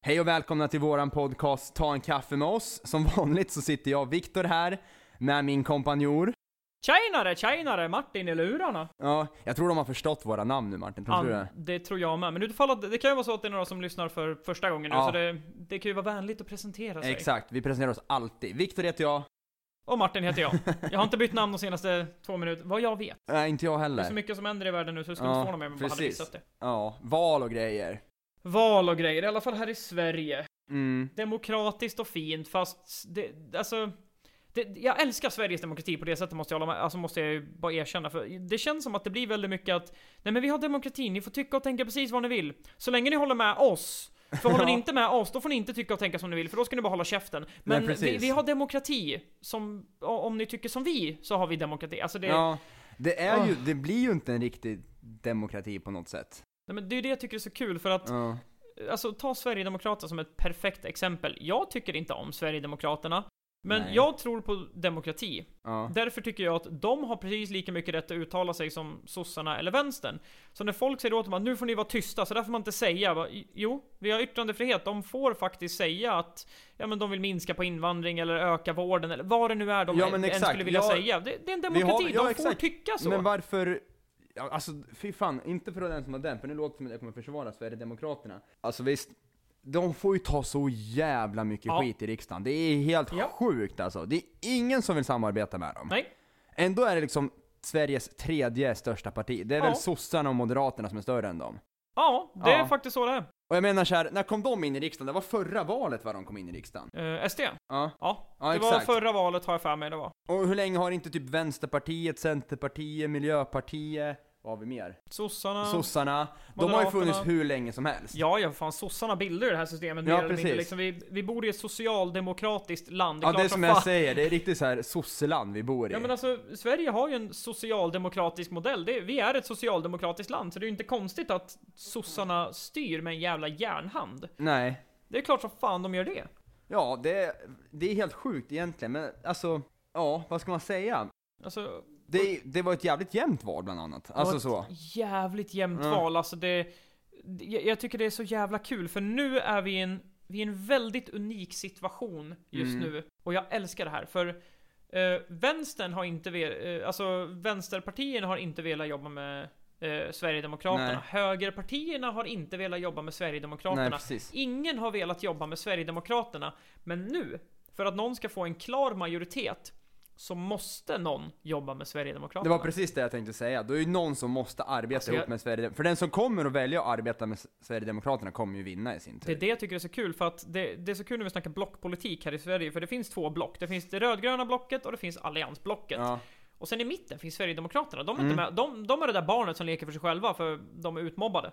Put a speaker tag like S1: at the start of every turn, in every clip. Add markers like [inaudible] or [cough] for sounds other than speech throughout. S1: Hej och välkomna till våran podcast Ta en kaffe med oss. Som vanligt så sitter jag, Viktor, här med min kompanjor.
S2: Tjenare, tjenare! Martin i lurarna.
S1: Ja, jag tror de har förstått våra namn nu Martin, tror
S2: An-
S1: du det?
S2: det tror jag med. Men utifall att, det kan ju vara så att det är några som lyssnar för första gången nu,
S1: Ja.
S2: så det, det kan ju vara vänligt att presentera sig.
S1: Exakt, vi presenterar oss alltid. Viktor heter jag.
S2: Och Martin heter jag. Jag har inte bytt namn de senaste två minuterna, vad jag vet.
S1: [laughs] Nej, inte jag
S2: Det är så
S1: heller.
S2: mycket som händer i världen nu så det skulle
S1: Ja,
S2: inte förvåna mig om jag bara hade
S1: precis.
S2: missat det.
S1: Ja, val och grejer.
S2: Val och grejer, i alla fall här i Sverige.
S1: Mm. demokratiskt
S2: Demokratiskt och fint, fast det, alltså... Det, jag älskar Sveriges demokrati på det sättet måste jag hålla med, alltså måste jag ju bara erkänna för det känns som att det blir väldigt mycket att Nej men vi har demokrati, ni får tycka och tänka precis vad ni vill Så länge ni håller med oss För håller ni
S1: Ja.
S2: inte med oss, då får ni inte tycka och tänka som ni vill för då ska ni bara hålla käften Men
S1: precis.
S2: vi, vi har demokrati som, o- om ni tycker som vi så har vi demokrati Alltså det,
S1: Ja, det är ju,
S2: Ah.
S1: det blir ju inte en riktig demokrati på något sätt.
S2: nej, men det är ju det jag tycker är så kul för att
S1: Ja.
S2: Alltså ta Sverigedemokraterna som ett perfekt exempel Jag tycker inte om Sverigedemokraterna Men
S1: Nej.
S2: jag tror på demokrati
S1: Ja.
S2: Därför tycker jag att de har precis lika mycket rätt att uttala sig som sossarna eller vänstern. Så när folk säger åt dem att nu får ni vara tysta, så där får man inte säga. Jag Bara, jo, vi har yttrandefrihet. De får faktiskt säga att ja, men de vill minska på invandring eller öka vården eller vad det nu är de
S1: Ja,
S2: en-
S1: men
S2: ens
S1: exakt.
S2: skulle vilja
S1: Ja,
S2: säga. Det, det är en
S1: har-
S2: demokrati,
S1: ja,
S2: de får
S1: exakt.
S2: tycka så.
S1: Men varför, ja, alltså fy fan, inte för den som har den, för nu låter det som att jag kommer försvara Sverigedemokraterna. Alltså visst, de får ju ta så jävla mycket
S2: Ja.
S1: skit i riksdagen. Det är helt
S2: Ja.
S1: sjukt alltså. Det är ingen som vill samarbeta med dem.
S2: Nej.
S1: Ändå är det liksom Sveriges tredje största parti. Det är väl
S2: Ja.
S1: sossarna och moderaterna som är större än dem.
S2: Ja, det
S1: Ja.
S2: är faktiskt så det är.
S1: Och jag menar så här, när kom de in i riksdagen? Det var förra valet va de kom in i riksdagen?
S2: Eh, SD?
S1: Ja.
S2: Ja,
S1: Ja,
S2: det
S1: exakt.
S2: var förra valet har jag för mig det var.
S1: Och hur länge har inte typ Vänsterpartiet, Centerpartiet, Miljöpartiet, vad har vi mer?
S2: Sossarna...
S1: Sossarna. De har ju funnits
S2: Moderaterna.
S1: hur länge som helst.
S2: Ja, ja, fan sossarna bildar ju det här systemet
S1: Ja,
S2: mer eller mindre.
S1: precis.
S2: Liksom, vi, vi bor i ett socialdemokratiskt land.
S1: Ja, det
S2: klart
S1: är som
S2: fan-
S1: jag säger, det är riktigt så här sosseland vi bor i.
S2: Ja men alltså, Sverige har ju en socialdemokratisk modell. Det, vi är ett socialdemokratiskt land, så det är ju inte konstigt att sossarna styr med en jävla järnhand.
S1: Nej.
S2: Det är klart som fan de gör det.
S1: Ja, det är, det är helt sjukt egentligen, men alltså, ja, vad ska man säga?
S2: Alltså,
S1: Det, det var ett jävligt jämnt val bland annat. Alltså
S2: det var
S1: så.
S2: ett jävligt jämnt
S1: Ja.
S2: val, alltså det... det- Jag, jag tycker det är så jävla kul, för nu är vi i en, vi är i en väldigt unik situation just
S1: Mm.
S2: nu. Och jag älskar det här, för... Eh, vänstern har inte velat, eh, alltså vänsterpartierna har inte velat jobba med eh, Sverigedemokraterna.
S1: Nej.
S2: Högerpartierna har inte velat jobba med Sverigedemokraterna.
S1: Nej, precis.
S2: Ingen har velat jobba med Sverigedemokraterna, men nu, för att någon ska få en klar majoritet, så måste någon jobba med
S1: Det
S2: Sverigedemokraterna.
S1: var precis det jag tänkte säga. Det är ju någon som måste arbeta
S2: Alltså,
S1: ihop
S2: jag-
S1: med Sverigedemokraterna. För den som kommer att välja att arbeta med S- Sverigedemokraterna kommer ju vinna i sin
S2: Det är
S1: tur.
S2: det jag tycker är så kul, för att det, det är så kul när vi snackar blockpolitik här i Sverige, för det finns två block. Det finns det rödgröna blocket och det finns alliansblocket.
S1: Ja,
S2: Och sen i mitten finns Sverigedemokraterna. De är,
S1: Mm.
S2: inte med, de, de är det där barnet som leker för sig själva, för de är utmobbade.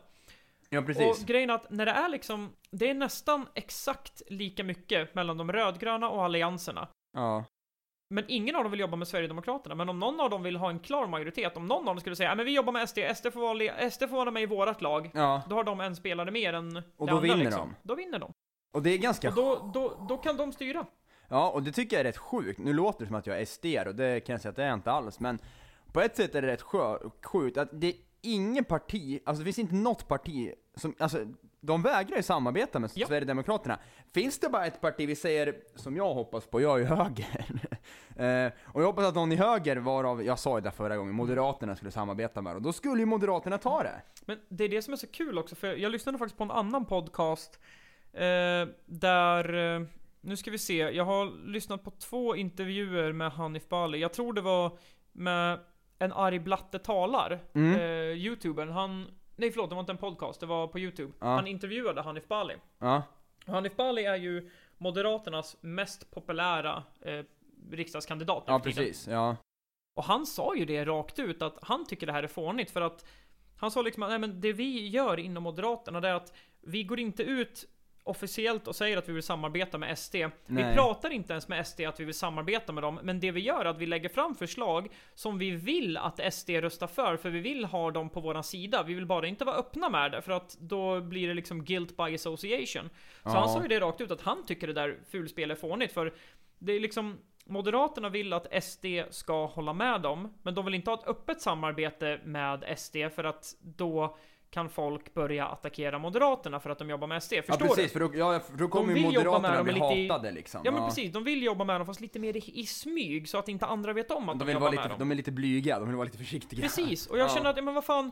S1: ja precis.
S2: Och grejen är att när det är liksom, det är nästan exakt lika mycket mellan de rödgröna och allianserna.
S1: Ja.
S2: Men ingen av dem vill jobba med Sverigedemokraterna. Men om någon av dem vill ha en klar majoritet, om någon av dem skulle säga "Ja, men vi jobbar med SD, SD får vara, le- SD får vara med i vårat lag.
S1: ja.
S2: Då har de en spelare mer än
S1: Och
S2: det
S1: då
S2: andra,
S1: vinner
S2: liksom.
S1: de.
S2: Då vinner de.
S1: Och det är ganska
S2: Och då, då, då kan de styra.
S1: Ja, och det tycker jag är rätt sjukt. Nu låter det som att jag är SD och det kan jag säga att jag är inte alls, men på ett sätt är det rätt sjö- sjukt att det är ingen parti, alltså det finns inte något parti som, alltså de vägrar ju samarbeta med
S2: Ja.
S1: Sverigedemokraterna. Finns det bara ett parti, vi säger, som jag hoppas på, jag är ju höger. [laughs] eh, och jag hoppas att någon i höger, varav jag sa ju det förra gången, Moderaterna skulle samarbeta med och då skulle ju Moderaterna ta det.
S2: Men det är det som är så kul också, för jag lyssnade faktiskt på en annan podcast eh, där, eh, nu ska vi se, jag har lyssnat på två intervjuer med Hanif Bali. Jag tror det var med en arg blatte talar,
S1: Mm.
S2: eh, youtubern. Han, nej förlåt, det var inte en podcast, det var på youtube.
S1: Ja.
S2: Han intervjuade Hanif Bali.
S1: Ja,
S2: Och Hanif Bali är ju Moderaternas mest populära eh, riksdagskandidat nu
S1: ja
S2: för tiden.
S1: precis. Ja.
S2: Och han sa ju det rakt ut att han tycker det här är fånigt för att han sa liksom att nej, men det vi gör inom Moderaterna det är att vi går inte ut officiellt och säger att vi vill samarbeta med SD.
S1: Nej.
S2: Vi pratar inte ens med SD att vi vill samarbeta med dem, men det vi gör är att vi lägger fram förslag som vi vill att SD röstar för, för vi vill ha dem på våran sida. Vi vill bara inte vara öppna med det, för att då blir det liksom guilt by association. Så
S1: Ja.
S2: han sa ju det rakt ut att han tycker det där fulspel är fånigt, för det är liksom Moderaterna vill att SD ska hålla med dem, men de vill inte ha ett öppet samarbete med SD för att då kan folk börja attackera Moderaterna för att de jobbar med SD. Förstår
S1: ja, precis,
S2: du?
S1: för då, ja, för då kommer ju
S2: vill jobba med
S1: Moderaterna
S2: dem
S1: bli
S2: lite i-
S1: hatade liksom.
S2: Ja men precis, de vill jobba med dem fast lite mer i, i smyg så att inte andra vet om att de,
S1: De, vill
S2: jobbar
S1: vara
S2: med
S1: lite,
S2: dem.
S1: de är lite blyga, de vill vara lite försiktiga.
S2: Precis, och jag
S1: Ja.
S2: känner att, ja, men vad fan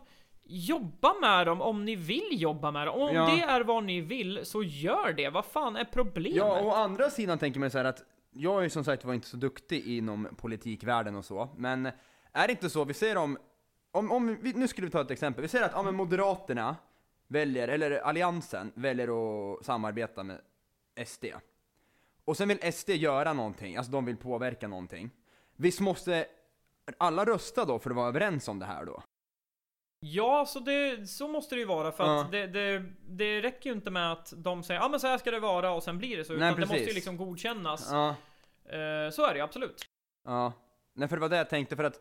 S2: Jobba med dem om ni vill jobba med dem. Om
S1: Ja.
S2: det är vad ni vill, så gör det. Vad fan är problemet?
S1: Ja, å andra sidan tänker man så här att jag är ju som sagt var inte så duktig inom politikvärlden och så, men är det inte så, vi ser om, om, om vi, nu skulle vi ta ett exempel, vi ser att ja, men Moderaterna väljer, eller Alliansen väljer att samarbeta med SD. Och sen vill SD göra någonting, alltså de vill påverka någonting. Visst måste alla rösta då för att vara överens om det här då?
S2: Ja, så, det, så måste det ju vara för att
S1: Ja.
S2: det, det, det räcker ju inte med att de säger ja ah, men så här ska det vara och sen blir det så.
S1: Nej,
S2: Utan det måste ju
S1: precis.
S2: liksom godkännas.
S1: Ja.
S2: Eh, så är det ju absolut.
S1: Ja, nej för det var det jag tänkte för att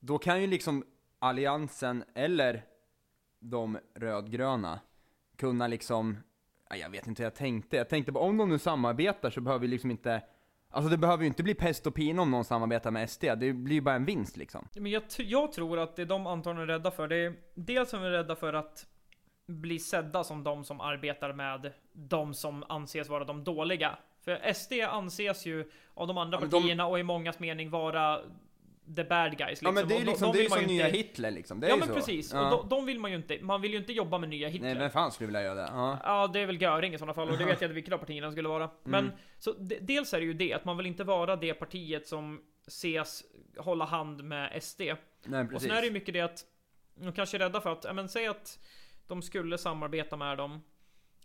S1: då kan ju liksom alliansen eller de rödgröna kunna liksom, ja, jag vet inte hur jag tänkte, jag tänkte bara om de nu samarbetar så behöver vi liksom inte, alltså det behöver ju inte bli pest och pina om någon samarbetar med SD, det blir ju bara en vinst liksom.
S2: Men jag, t- jag tror att det de antagligen är rädda för, det är dels som är rädda för att bli sedda som de som arbetar med de som anses vara de dåliga. För SD anses ju av de andra
S1: Ja, men de-
S2: partierna och i mångas mening vara the bad guys.
S1: ja men det är
S2: Och
S1: ju
S2: de-
S1: liksom,
S2: de
S1: det är ju
S2: vill man
S1: som
S2: ju
S1: nya
S2: inte-
S1: Hitler liksom, det är
S2: Ja
S1: ju
S2: men
S1: så.
S2: precis,
S1: Ja.
S2: och de, de vill man ju inte, man vill ju inte jobba med nya Hitler.
S1: Nej vem fan skulle vilja göra det? Ja.
S2: Ja, det är väl Göring i sådana fall och det vet jag inte vilket av partierna det skulle
S1: Mm.
S2: vara. Men så de, dels är det ju det att man vill inte vara det partiet som ses hålla hand med SD.
S1: Nej
S2: Och
S1: precis.
S2: sen är det ju mycket det att de kanske är rädda för att, ja, men säg att de skulle samarbeta med dem.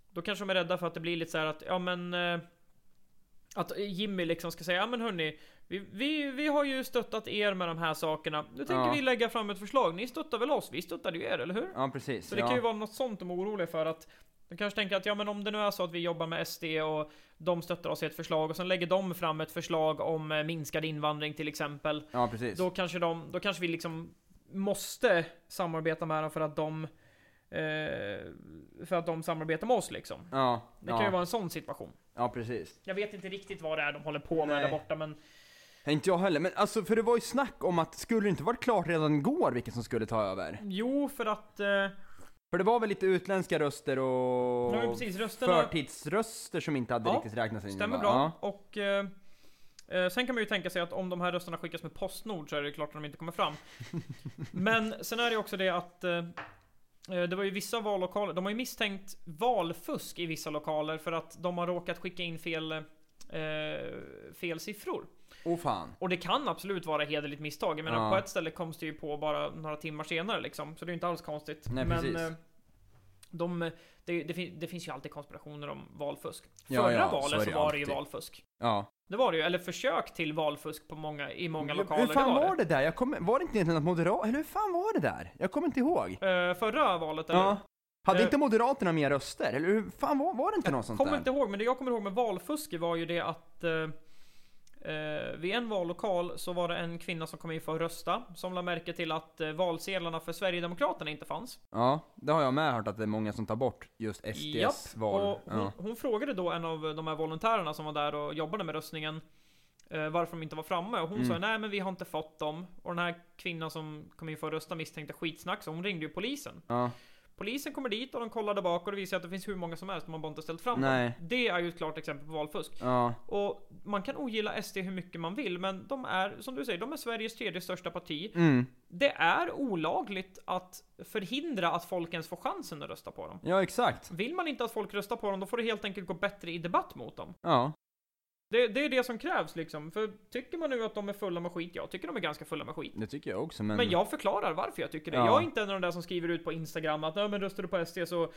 S2: Då kanske de är rädda för att det blir lite så här att, ja men eh, att Jimmy liksom ska säga, ja men hörni, vi, vi, vi har ju stöttat er med de här sakerna. Nu tänker
S1: Ja.
S2: vi lägga fram ett förslag. Ni stöttar väl oss? Vi stöttade ju er, eller hur?
S1: Ja precis.
S2: Så det
S1: ja.
S2: kan ju vara något sånt de är oroliga för att de kanske tänker att ja men om det nu är så att vi jobbar med SD och de stöttar oss i ett förslag och sen lägger de fram ett förslag om eh, minskad invandring till exempel.
S1: Ja precis.
S2: Då kanske de, då kanske vi liksom måste samarbeta med dem för att de eh, för att de samarbetar med oss liksom.
S1: Ja,
S2: Det kan ju
S1: ja.
S2: vara en sån situation.
S1: ja precis.
S2: Jag vet inte riktigt vad det är de håller på med
S1: Nej.
S2: där borta men
S1: Inte jag heller, men alltså för det var ju snack om att skulle det inte varit klart redan igår vilken som skulle ta över?
S2: jo för att eh,
S1: För det var väl lite utländska röster och
S2: nu är precis rösterna
S1: förtidsröster som inte hade
S2: Ja,
S1: riktigt räknats in.
S2: Stämmer
S1: va?
S2: bra. Och eh, eh, sen kan man ju tänka sig att om de här rösterna skickas med Postnord så är det klart att de inte kommer [laughs] fram. Men sen är det också det att eh, eh, det var ju vissa vallokaler, de har ju misstänkt valfusk i vissa lokaler för att de har råkat skicka in fel, eh, fel siffror.
S1: Ja. Åh fan.
S2: Och det kan absolut vara hederligt misstag. Jag menar
S1: Ja.
S2: på ett ställe kom det ju på bara några timmar senare liksom. Så det är ju inte alls konstigt.
S1: Nej,
S2: Men
S1: precis.
S2: eh, de, det, det, fin- det finns ju alltid konspirationer om valfusk.
S1: Ja,
S2: Förra
S1: ja, så är
S2: valet
S1: det
S2: så,
S1: ju
S2: var det ju
S1: alltid.
S2: valfusk.
S1: Ja.
S2: Det var det ju. Eller försök till valfusk på många, i många
S1: Hur-
S2: lokaler.
S1: Hur fan
S2: det var, det.
S1: där? Jag kommer, var det inte egentligen att Moderaterna, eller hur fan var det där? Jag kommer inte ihåg.
S2: Eh, förra valet, eller?
S1: Ja. Hade
S2: Eh.
S1: inte Moderaterna mer röster? Eller hur fan var, var det inte något sånt
S2: kommer
S1: där?
S2: inte ihåg, men det jag kommer ihåg med valfusk var ju det att eh, eh, vid en vallokal så var det en kvinna som kom in för att rösta som la märke till att eh, valsedlarna för Sverigedemokraterna inte fanns.
S1: Ja, det har jag med hört att det är många som tar bort just SDs
S2: Japp,
S1: val.
S2: Och hon,
S1: Ja.
S2: hon frågade då en av de här volontärerna som var där och jobbade med röstningen eh, varför de inte var framme. Och hon
S1: Mm.
S2: sa nej men vi har inte fått dem. Och den här kvinnan som kom in för att rösta misstänkte skitsnack så hon ringde ju polisen.
S1: Ja.
S2: Polisen kommer dit och de kollar där bak och det visar sig att det finns hur många som helst. De har bara inte ställt fram dem.
S1: Nej.
S2: Det är ju ett klart exempel på valfusk.
S1: Ja.
S2: Och man kan ogilla SD hur mycket man vill, men de är, som du säger, de är Sveriges tredje största parti.
S1: Mm.
S2: Det är olagligt att förhindra att folk ens får chansen att rösta på dem.
S1: Ja, exakt.
S2: Vill man inte att folk röstar på dem, då får det helt enkelt gå bättre i debatt mot dem.
S1: Ja.
S2: Det, det är det som krävs liksom. För tycker man nu att de är fulla med skit, jag tycker de är ganska fulla med skit.
S1: Det tycker jag också,
S2: Men jag förklarar varför jag tycker det.
S1: Mm. Ja.
S2: Jag är inte en av de där som skriver ut på Instagram att Nej, men röstar du på SD så,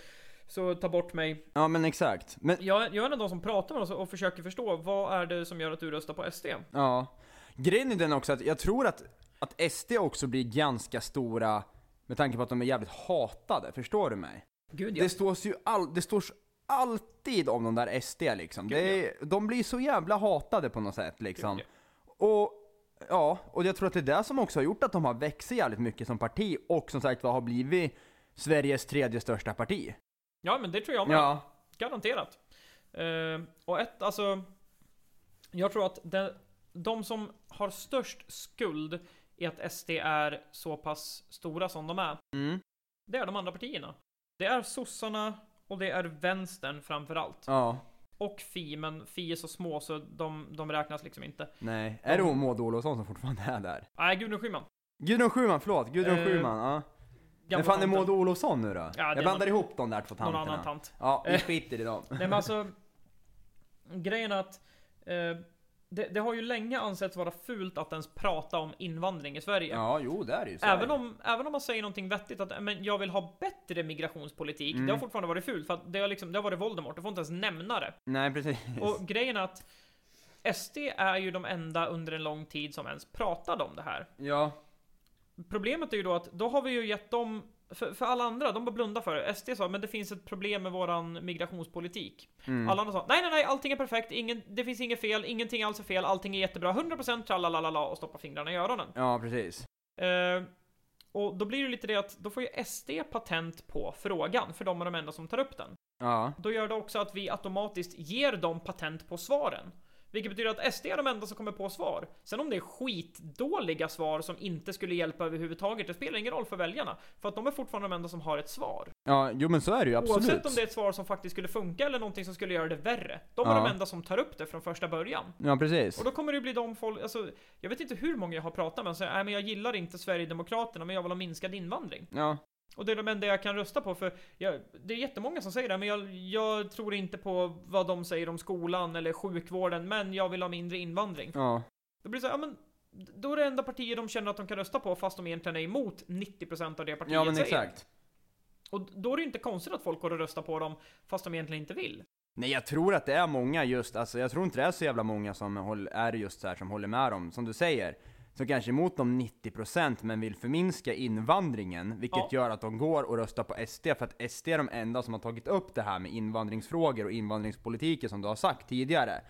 S2: så ta bort mig.
S1: Ja, men exakt. Men
S2: Jag, är- jag är en av de som pratar med dem och försöker förstå vad är det som gör att du röstar på SD?
S1: Ja. Grejen är den också att jag tror att, att SD också blir ganska stora med tanke på att de är jävligt hatade, förstår du mig?
S2: Gud ja.
S1: Det stås ju all, det stås alltid om de där SD liksom.
S2: Gud,
S1: Det är, de blir så jävla hatade på något sätt liksom.
S2: Gud,
S1: Och ja, och jag tror att det är det som också har gjort att de har växt sig jävligt mycket som parti och som sagt vad har blivit Sveriges tredje största parti.
S2: Ja men det tror jag med.
S1: Ja,
S2: Garanterat. Eh, och ett, alltså. Jag tror att de, de som har störst skuld i att SD är så pass stora som de är.
S1: mm.
S2: Det är de andra partierna. Det är sossarna och det är vänstern framförallt.
S1: Ja,
S2: Och Fi, men Fi är så små så de, de räknas liksom inte.
S1: nej. Är det hon Maud Olofsson som fortfarande är där?
S2: Nej, Gudrun Schyman.
S1: Gudrun Schumann, förlåt. Gudrun
S2: Eh,
S1: Schumann, ja. Men
S2: Gamla
S1: fan är
S2: tanten.
S1: Maud Olofsson nu då?
S2: det
S1: jag
S2: är
S1: blandar
S2: någon-
S1: ihop de där två
S2: Någon
S1: tanterna.
S2: annan tant.
S1: Ja, vi
S2: Eh.
S1: skiter i
S2: [laughs]
S1: dem.
S2: Nej men alltså Grejen är att eh, det, det har ju länge ansetts vara fult att ens prata om invandring i Sverige.
S1: Ja, jo, det är det ju. så är
S2: Även
S1: det.
S2: om, även om man säger någonting vettigt att "Äh, men jag vill ha bättre migrationspolitik,
S1: Mm.
S2: det har fortfarande varit fult för att det har, liksom, det har varit Voldemort, du får inte ens nämna det.
S1: Nej, precis.
S2: Och grejen är att SD är ju de enda under en lång tid som ens pratade om det här.
S1: Ja,
S2: Problemet är ju då att då har vi ju gett dem, för, för alla andra, de bara blundar för det. SD sa men det finns ett problem med våran migrationspolitik.
S1: mm.
S2: Alla andra sa nej, nej, nej, allting är perfekt, ingen, det finns inget fel, ingenting alls är fel, allting är jättebra, 100% tralalala och stoppa fingrarna i öronen.
S1: ja precis.
S2: Eh, och då blir det lite det att då får ju SD patent på frågan, för de är de enda som tar upp den.
S1: Ja,
S2: Då gör det också att vi automatiskt ger dem patent på svaren. Vilket betyder att SD är de enda som kommer på svar. Sen om det är skitdåliga svar som inte skulle hjälpa överhuvudtaget, det spelar ingen roll för väljarna. För att de är fortfarande de enda som har ett svar.
S1: ja jo men så är det ju absolut.
S2: Oavsett om det är ett svar som faktiskt skulle funka eller någonting som skulle göra det värre. De är
S1: Ja.
S2: de enda som tar upp det från första början.
S1: Ja, precis.
S2: Och då kommer det bli de folk, alltså, jag vet inte hur många jag har pratat med som säger "Nej, men jag gillar inte Sverigedemokraterna men jag vill ha minskad invandring.
S1: Ja,
S2: Och det är de enda jag kan rösta på för jag, det är jättemånga som säger det men jag, jag tror inte på vad de säger om skolan eller sjukvården men jag vill ha mindre invandring.
S1: ja.
S2: Då blir det så här, ja men då är det enda partier de känner att de kan rösta på fast de egentligen är emot 90% av det partiet
S1: Ja, men
S2: säger.
S1: exakt.
S2: Och då är det inte konstigt att folk går och röstar på dem fast de egentligen inte vill.
S1: Nej, jag tror att det är många just, alltså jag tror inte det är så jävla många som håll, är just så här som håller med dem, som du säger. Som kanske är emot de 90% men vill förminska invandringen, vilket
S2: Ja.
S1: gör att de går och röstar på SD, för att SD är de enda som har tagit upp det här med invandringsfrågor och invandringspolitiken som du har sagt tidigare.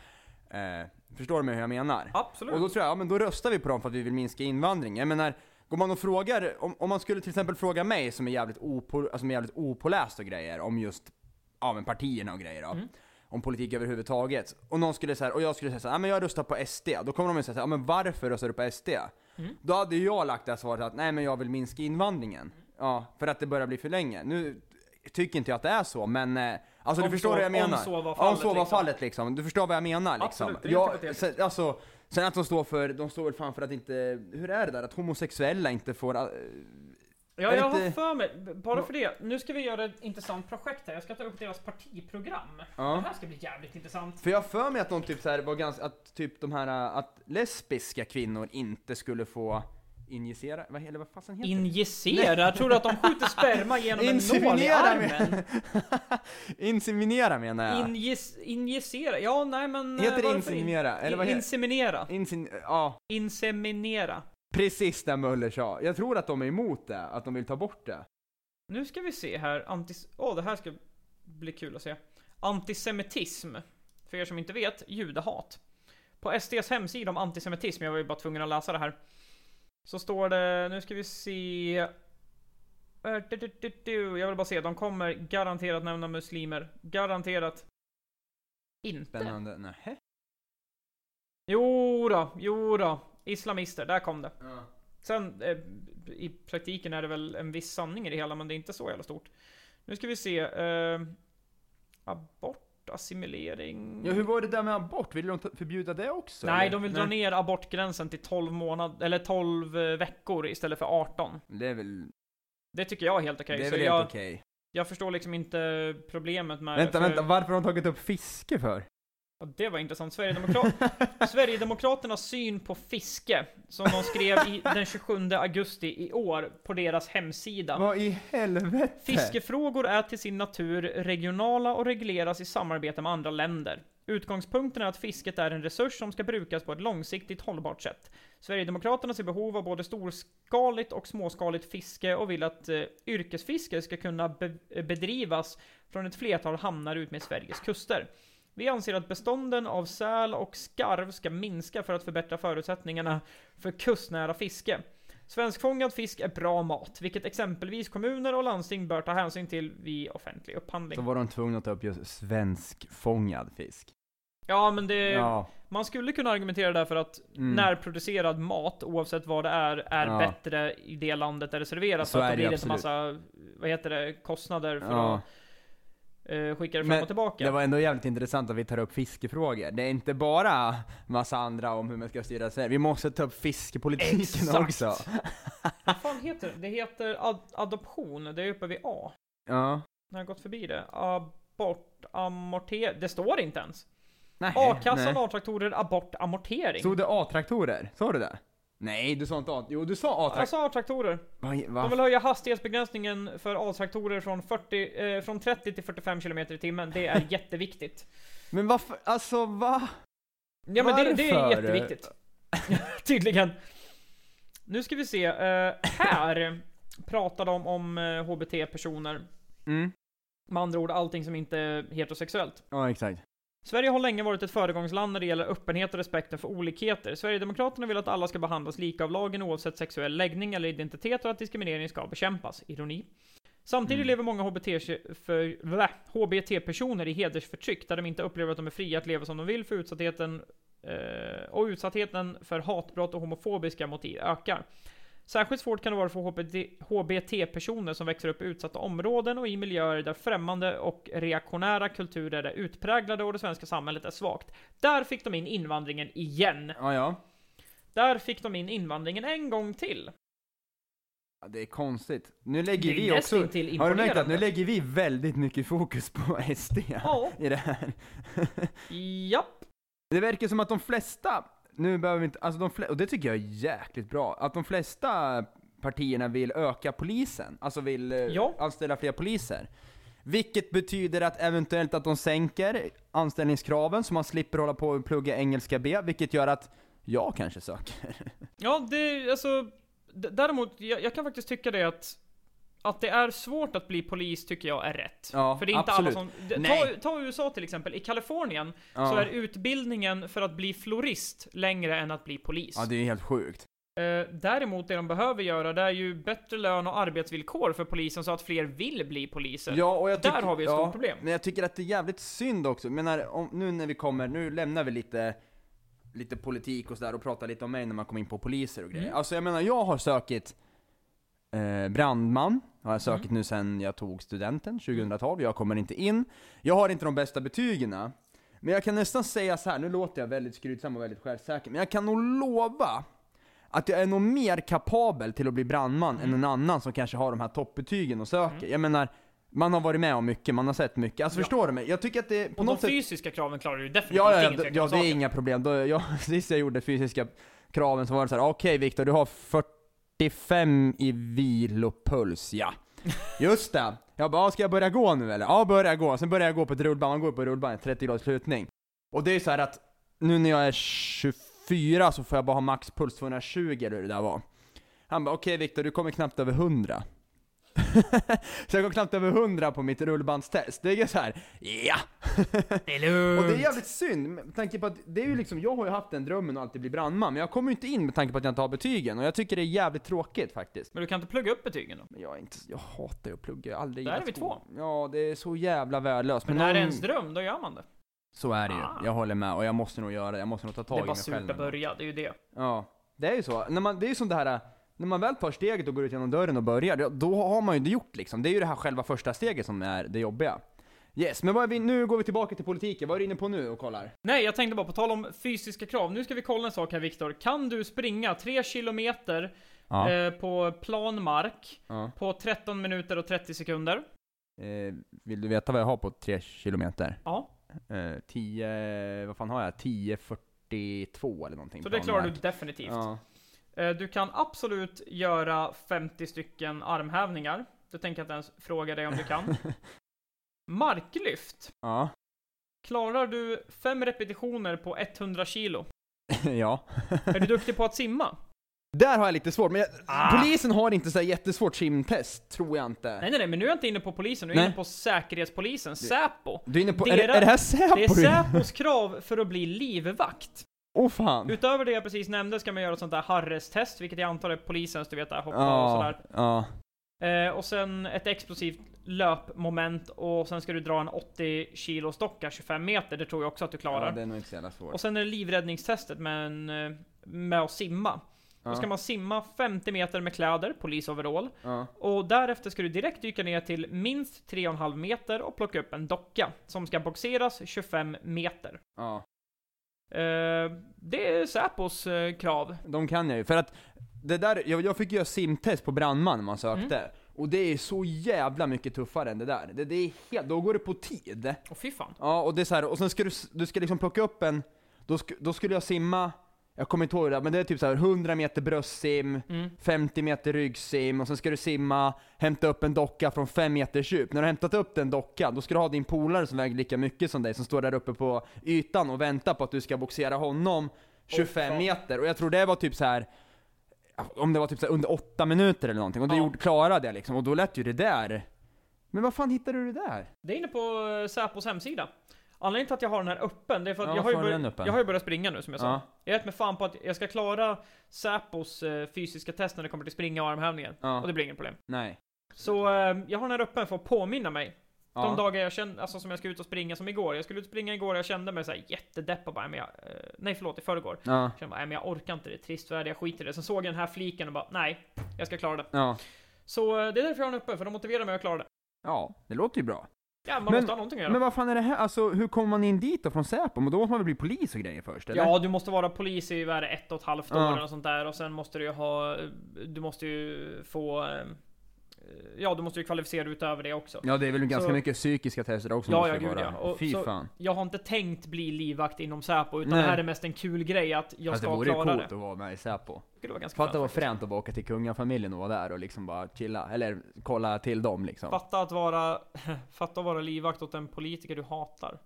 S1: Eh, förstår du mig hur jag menar?
S2: Absolut.
S1: Och då tror jag, ja men då röstar vi på dem för att vi vill minska invandringen. Jag menar, går man och frågar, om, om man skulle till exempel fråga mig som är jävligt, opo, alltså, som är jävligt opåläst och grejer om just, ja men partierna och grejer då.
S2: Mm.
S1: Om politik överhuvudtaget. Och någon skulle säga, och jag skulle säga såhär, ja men jag röstar på SD. Då kommer de ju säga såhär, ja men varför röstar du på SD?
S2: Mm.
S1: Då hade ju jag lagt det här svaret att, nej men jag vill minska invandringen. Ja, för att det börjar bli för länge. Nu tycker inte jag att det är så, men eh, Alltså
S2: Om
S1: du förstår
S2: så-
S1: vad jag
S2: om
S1: menar?
S2: så var
S1: Ja,
S2: fallet,
S1: så var
S2: liksom.
S1: fallet liksom. Du förstår vad jag menar liksom.
S2: Absolut, det är
S1: jag,
S2: hypotetiskt.
S1: sen, alltså, sen att de står för, de står väl fan för att inte, hur är det där? Att homosexuella inte får, äh,
S2: Ja,
S1: Är
S2: jag
S1: inte-
S2: har för mig, b- bara för det. Nu ska vi göra ett intressant projekt här. Jag ska ta upp deras partiprogram.
S1: ja.
S2: Det här ska bli jävligt intressant.
S1: För jag har för mig att de typ så här var ganska, att typ de här, äh, att lesbiska kvinnor inte skulle få injicera, vad, eller vad fasen heter
S2: Injicera? Tror du att de skjuter sperma genom en nål i
S1: Inseminera
S2: armen?
S1: det? [laughs] Inseminera menar jag!
S2: Injis, injicera? Ja, nej men... eh,
S1: heter det
S2: varför
S1: inseminera?
S2: In,
S1: eller vad heter
S2: inseminera.
S1: Insin, ja,
S2: Inseminera.
S1: precis det Möller sa. Jag tror att de är emot det, att de vill ta bort det.
S2: Nu ska vi se här. Antis... Åh, det här ska bli kul att se. Antisemitism. För er som inte vet, judehat. På SDs hemsida om antisemitism, jag var ju bara tvungen att läsa det här. Så står det, nu ska vi se... Eh, du, du, du, du. Jag vill bara se, de kommer garanterat nämna muslimer. Garanterat. Inte.
S1: Spännande, nähä?
S2: Jo då, jo då. Islamister, där kom det.
S1: Ja.
S2: Sen eh, i praktiken är det väl en viss sanning i det hela, men det är inte så jävla stort. Nu ska vi se. Eh, abort, assimilering.
S1: Ja, hur var det där med abort? Vill de ta- förbjuda det också?
S2: Nej,
S1: eller?
S2: de vill dra ner abortgränsen till 12 månader, eller 12 eh, veckor istället för 18.
S1: Det är väl,
S2: Det tycker jag är helt okej.
S1: det är
S2: så
S1: väl
S2: jag,
S1: helt okej.
S2: jag förstår liksom inte problemet med
S1: Vänta,
S2: det. för-
S1: vänta, varför har de tagit upp fiske för?
S2: Ja, det var intressant. Sverigedemokrat
S1: [laughs]
S2: Sverigedemokraternas syn på fiske, som de skrev i, den 27 augusti i år på deras hemsida.
S1: Vad i helvete?
S2: Fiskefrågor är till sin natur regionala och regleras i samarbete med andra länder. Utgångspunkten är att fisket är en resurs som ska brukas på ett långsiktigt hållbart sätt. Sverigedemokraterna ser behov av både storskaligt och småskaligt fiske och vill att eh, yrkesfiske ska kunna be- eh, bedrivas från ett flertal hamnar utmed Sveriges kuster. Vi anser att bestånden av säl och skarv ska minska för att förbättra förutsättningarna för kustnära fiske. Svenskfångad fisk är bra mat, vilket exempelvis kommuner och landsting bör ta hänsyn till vid offentlig upphandling.
S1: Så var de tvungna att ta upp just svenskfångad fisk.
S2: Ja men det...
S1: Ja,
S2: Man skulle kunna argumentera där för att
S1: Mm.
S2: närproducerad mat, oavsett vad det är, är
S1: Ja.
S2: bättre i det landet där det serveras.
S1: Så
S2: för
S1: är
S2: att då
S1: det
S2: blir det inte
S1: absolut.
S2: massa, vad heter det, kostnader för
S1: ja.
S2: att eh, skicka det fram
S1: Men
S2: och tillbaka.
S1: Det var ändå jävligt intressant att vi tar upp fiskefrågor. Det är inte bara massa andra om hur man ska styra sig. Vi måste ta upp fiskepolitiken
S2: Exakt.
S1: också.
S2: Vad fan heter det? Det heter ad adoption, det är uppe vid A.
S1: Ja.
S2: Jag har gått förbi det. Abort, amorter... Det står inte ens.
S1: Nej.
S2: A-kassan,
S1: nej.
S2: A-traktorer, abort, amortering.
S1: Stod det A-traktorer? Sa du det? Nej, du sa inte A... Jo, du sa
S2: Jag
S1: A-traktorer.
S2: sa A-traktorer. De vill höja hastighetsbegränsningen för A-traktorer från, 40, eh, från 30 till 45 km i timmen.
S1: [laughs]
S2: Det är jätteviktigt.
S1: Men varför? Alltså va?
S2: Ja men det, det är
S1: Varför?
S2: jätteviktigt. [laughs] Tydligen. Nu ska vi se. eh, här pratar de om eh, HBT-personer.
S1: Mm.
S2: Med andra ord allting som inte är heterosexuellt.
S1: Ja, exakt.
S2: Sverige har länge varit ett föregångsland när det gäller öppenhet och respekten för olikheter. Sverigedemokraterna vill att alla ska behandlas lika av lagen oavsett sexuell läggning eller identitet och att diskriminering ska bekämpas. Ironi. Samtidigt
S1: Mm.
S2: lever många HBT- för- blä, HBT-personer i hedersförtryck där de inte upplever att de är fria att leva som de vill för utsattheten eh, och utsattheten för hatbrott och homofobiska motiv ökar. Särskilt svårt kan det vara för HBT- HBT-personer som växer upp i utsatta områden och i miljöer där främmande och reaktionära kulturer är utpräglade och det svenska samhället är svagt. Där fick de in invandringen igen.
S1: Ja, ja.
S2: Där fick de in invandringen en gång till.
S1: Ja, Det är konstigt. Nu
S2: Det
S1: lägger
S2: är
S1: vi också...
S2: nästintill
S1: Har du märkt att
S2: imponerande.
S1: nu lägger vi väldigt mycket fokus på [laughs] SD
S2: Ja,
S1: i det här? [laughs]
S2: japp.
S1: Det verkar som att de flesta, nu behöver vi inte, alltså de flesta, och det tycker jag är jäkligt bra, att de flesta partierna vill öka polisen, alltså vill eh,
S2: Ja.
S1: anställa fler poliser. Vilket betyder att eventuellt att de sänker anställningskraven så man slipper hålla på och plugga engelska B, vilket gör att jag kanske söker.
S2: Ja, det, alltså, d- däremot, jag, jag kan faktiskt tycka det att att det är svårt att bli polis tycker jag är rätt.
S1: Ja,
S2: För det är inte
S1: absolut.
S2: alla som... d- Ta,
S1: Nej.
S2: ta USA till exempel. I Kalifornien
S1: Ja.
S2: så är utbildningen för att bli florist längre än att bli polis.
S1: ja, det är ju helt sjukt.
S2: Eh, däremot det de behöver göra det är ju bättre lön och arbetsvillkor för polisen så att fler vill bli poliser.
S1: Ja, och jag
S2: Där
S1: tycker-
S2: har vi ett
S1: ja,
S2: stort problem.
S1: Men jag tycker att det är jävligt synd också, men när, om, nu när vi kommer, nu lämnar vi lite Lite politik och sådär och pratar lite om mig när man kommer in på poliser och grejer.
S2: Mm.
S1: Alltså jag menar, jag har sökt eh, brandman, har jag
S2: Mm.
S1: sökt nu sen jag tog studenten 2012, jag kommer inte in. Jag har inte de bästa betygen. Men jag kan nästan säga så här. nu låter jag väldigt skrytsam och väldigt självsäker, men jag kan nog lova att jag är nog mer kapabel till att bli brandman än en annan som kanske har de här toppbetygen och söker. Jag menar, man har varit med om mycket, man har sett mycket. Alltså
S2: Mm. Ja.
S1: förstår du mig? Jag tycker att det på
S2: och de
S1: något sätt...
S2: fysiska kraven klarar du definitivt
S1: Ja, ja, ja,
S2: ingen tvekan
S1: ja
S2: om
S1: det är
S2: saken.
S1: inga problem. Då, jag, [laughs] sist jag gjorde fysiska kraven så var det så här: okej Viktor, du har 45 i vilopuls,
S2: [laughs]
S1: ja. Just det! Jag bara, "Ah, ska jag börja gå nu eller? Ja, börja gå. Sen börjar jag gå på ett rullband, man går på rullbandet, 30 graders lutning. Och det är så här att, nu när jag är 24 så får jag bara ha maxpuls 220 eller hur det där var. Han bara, okej Viktor, du kommer knappt över 100. [laughs] så jag kom knappt över 100 på mitt rullbandstest. Det är så här, ja!
S2: Det är lugnt.
S1: Och det är jävligt synd, med tanke på att det är ju liksom, jag har ju haft den drömmen att alltid bli brandman, men jag kommer ju inte in med tanke på att jag inte har betygen, och jag tycker det är jävligt tråkigt faktiskt.
S2: Men du kan inte plugga upp betygen då?
S1: Men jag är inte, jag hatar ju att plugga, jag har aldrig
S2: Där är
S1: gillat
S2: vi
S1: skolan. Ja, det är så jävla värdelöst.
S2: Men är det
S1: någon-
S2: ens dröm, då gör man det.
S1: Så är det ju,
S2: Ah.
S1: jag håller med, och jag måste nog göra det, jag måste nog ta
S2: Det
S1: tag i
S2: är
S1: mig
S2: bara
S1: själv.
S2: surt att börja, det är ju det.
S1: Ja, det är ju så. När man, det är ju som det här, när man väl tar steget och går ut genom dörren och börjar, då- då har man ju det gjort liksom. Det är ju det här själva första steget som är det jobbiga. Yes, men vad är vi, nu går vi tillbaka till politiken, vad är du inne på nu och kollar?
S2: Nej, jag tänkte bara på tal om fysiska krav. Nu ska vi kolla en sak här Viktor. Kan du springa 3 kilometer
S1: Ja.
S2: eh, på plan mark
S1: ja.
S2: på 13 minuter och 30 sekunder?
S1: Eh, vill du veta vad jag har på 3 kilometer?
S2: Ja.
S1: Eh, 10, vad fan har jag? 10.42 eller någonting.
S2: Så det klarar du definitivt.
S1: Ja.
S2: Eh, Du kan absolut göra 50 stycken armhävningar. Då tänker jag inte ens fråga dig om
S1: [laughs]
S2: du kan. Marklyft.
S1: Ja. [laughs]
S2: Klarar du fem repetitioner på 100 kilo?
S1: ja.
S2: Är du duktig på att simma?
S1: Där har jag lite svårt, men jag,
S2: Ah.
S1: polisen har inte så här jättesvårt simtest, tror jag inte.
S2: Nej, nej, nej, men nu är jag inte inne på polisen, nu är jag
S1: Nej.
S2: inne på Säkerhetspolisen, Säpo.
S1: Du är inne på,
S2: Det
S1: är, det,
S2: är-
S1: är det här Säpo?
S2: Det är
S1: du-
S2: Säpos krav för att bli livvakt.
S1: Åh fan.
S2: Utöver det jag precis nämnde ska man göra ett sånt där Harris-test, vilket jag antar är polisens, du vet, där hoppa och
S1: Ja,
S2: sådär.
S1: ja.
S2: Eh, och sen ett explosivt löpmoment och sen ska du dra en 80 kilos docka 25 meter. Det tror jag också att du klarar.
S1: Ja, det är nog inte så jävla svårt.
S2: Och sen är det livräddningstestet med, en, eh, med att simma.
S1: ja.
S2: Då ska man simma 50 meter med kläder, polisoverall.
S1: ja.
S2: Och därefter ska du direkt dyka ner till minst 3,5 meter och plocka upp en docka som ska boxeras 25 meter.
S1: ja.
S2: Eh, det är Säpos eh, krav.
S1: De kan jag ju, för att det där, jag, jag fick göra simtest på brandman när man sökte. Och det är så jävla mycket tuffare än det där. Det, det är helt, då går det på tid.
S2: Och fy fan.
S1: Ja, och det är så här, och sen ska du, s- du ska liksom plocka upp en, då, sk, då skulle jag simma, jag kommer inte ihåg det där, men det är typ så här 100 meter bröstsim,
S2: Mm.
S1: 50 meter ryggsim, och sen ska du simma, hämta upp en docka från 5 meters djup. När du har hämtat upp den dockan, då ska du ha din polare som väger lika mycket som dig, som står där uppe på ytan och väntar på att du ska boxera honom 25
S2: fan.
S1: meter. Och jag tror det var typ så här. Om det var typ så här under 8 minuter eller någonting, och det
S2: Ja.
S1: gjorde, klarade jag liksom, och då lät ju det där. Men vad fan hittade du det där?
S2: Det är inne på eh, Säpos hemsida. Anledningen till att jag har den här öppen, det är för att
S1: Ja,
S2: jag, har ju
S1: varför har du
S2: bör-
S1: den öppen?
S2: jag har ju börjat springa nu som jag sa.
S1: Ja.
S2: Jag har gett mig fan på att jag ska klara Säpos eh, fysiska test när det kommer till springa och armhävningar.
S1: Ja.
S2: Och det blir inget problem.
S1: Nej.
S2: Så eh, jag har den här öppen för att påminna mig.
S1: Ja.
S2: De dagar jag kände, alltså som jag ska ut och springa som igår. Jag skulle ut och springa igår och jag kände mig såhär jättedeppad bara, "Nej, men jag, eh, nej förlåt, i förrgår.
S1: Ja.
S2: Jag kände bara, nej men jag orkar inte, det är trist väder, jag skiter i det. Sen såg jag den här fliken och bara, nej, jag ska klara det.
S1: Ja.
S2: Så eh, det är därför jag har den uppe, för de motiverar mig att klara det.
S1: Ja, det låter ju bra.
S2: Ja, man
S1: Men-
S2: måste ha någonting att göra.
S1: Men vad fan är det här? Alltså hur kommer man in dit då från Säpo? Men då måste man väl bli polis och grejer först eller?
S2: Ja, du måste vara polis i vad är det, ett och ett halvt år
S1: Ja.
S2: eller något sånt där och sen måste du ju ha, du måste ju få, eh, ja du måste ju kvalificera dig utöver det också.
S1: Ja, det är väl ganska
S2: Så-
S1: mycket psykiska tester också
S2: Ja,
S1: måste
S2: ja,
S1: det
S2: gud,
S1: vara.
S2: ja. Och
S1: Fy
S2: så-
S1: fan.
S2: Jag har inte tänkt bli livvakt inom Säpo utan
S1: Nej.
S2: det här är mest en kul grej att jag
S1: Alltså, det
S2: ska
S1: vore ju
S2: klara
S1: coolt
S2: det.
S1: att vara med i Säpo.
S2: Det skulle vara ganska
S1: Fatta
S2: skönt.
S1: vad fränt att bara åka till kungafamiljen och vara där och liksom bara chilla. Eller kolla till dem liksom.
S2: Fatta att vara, [laughs] fatta att vara livvakt åt en politiker du hatar.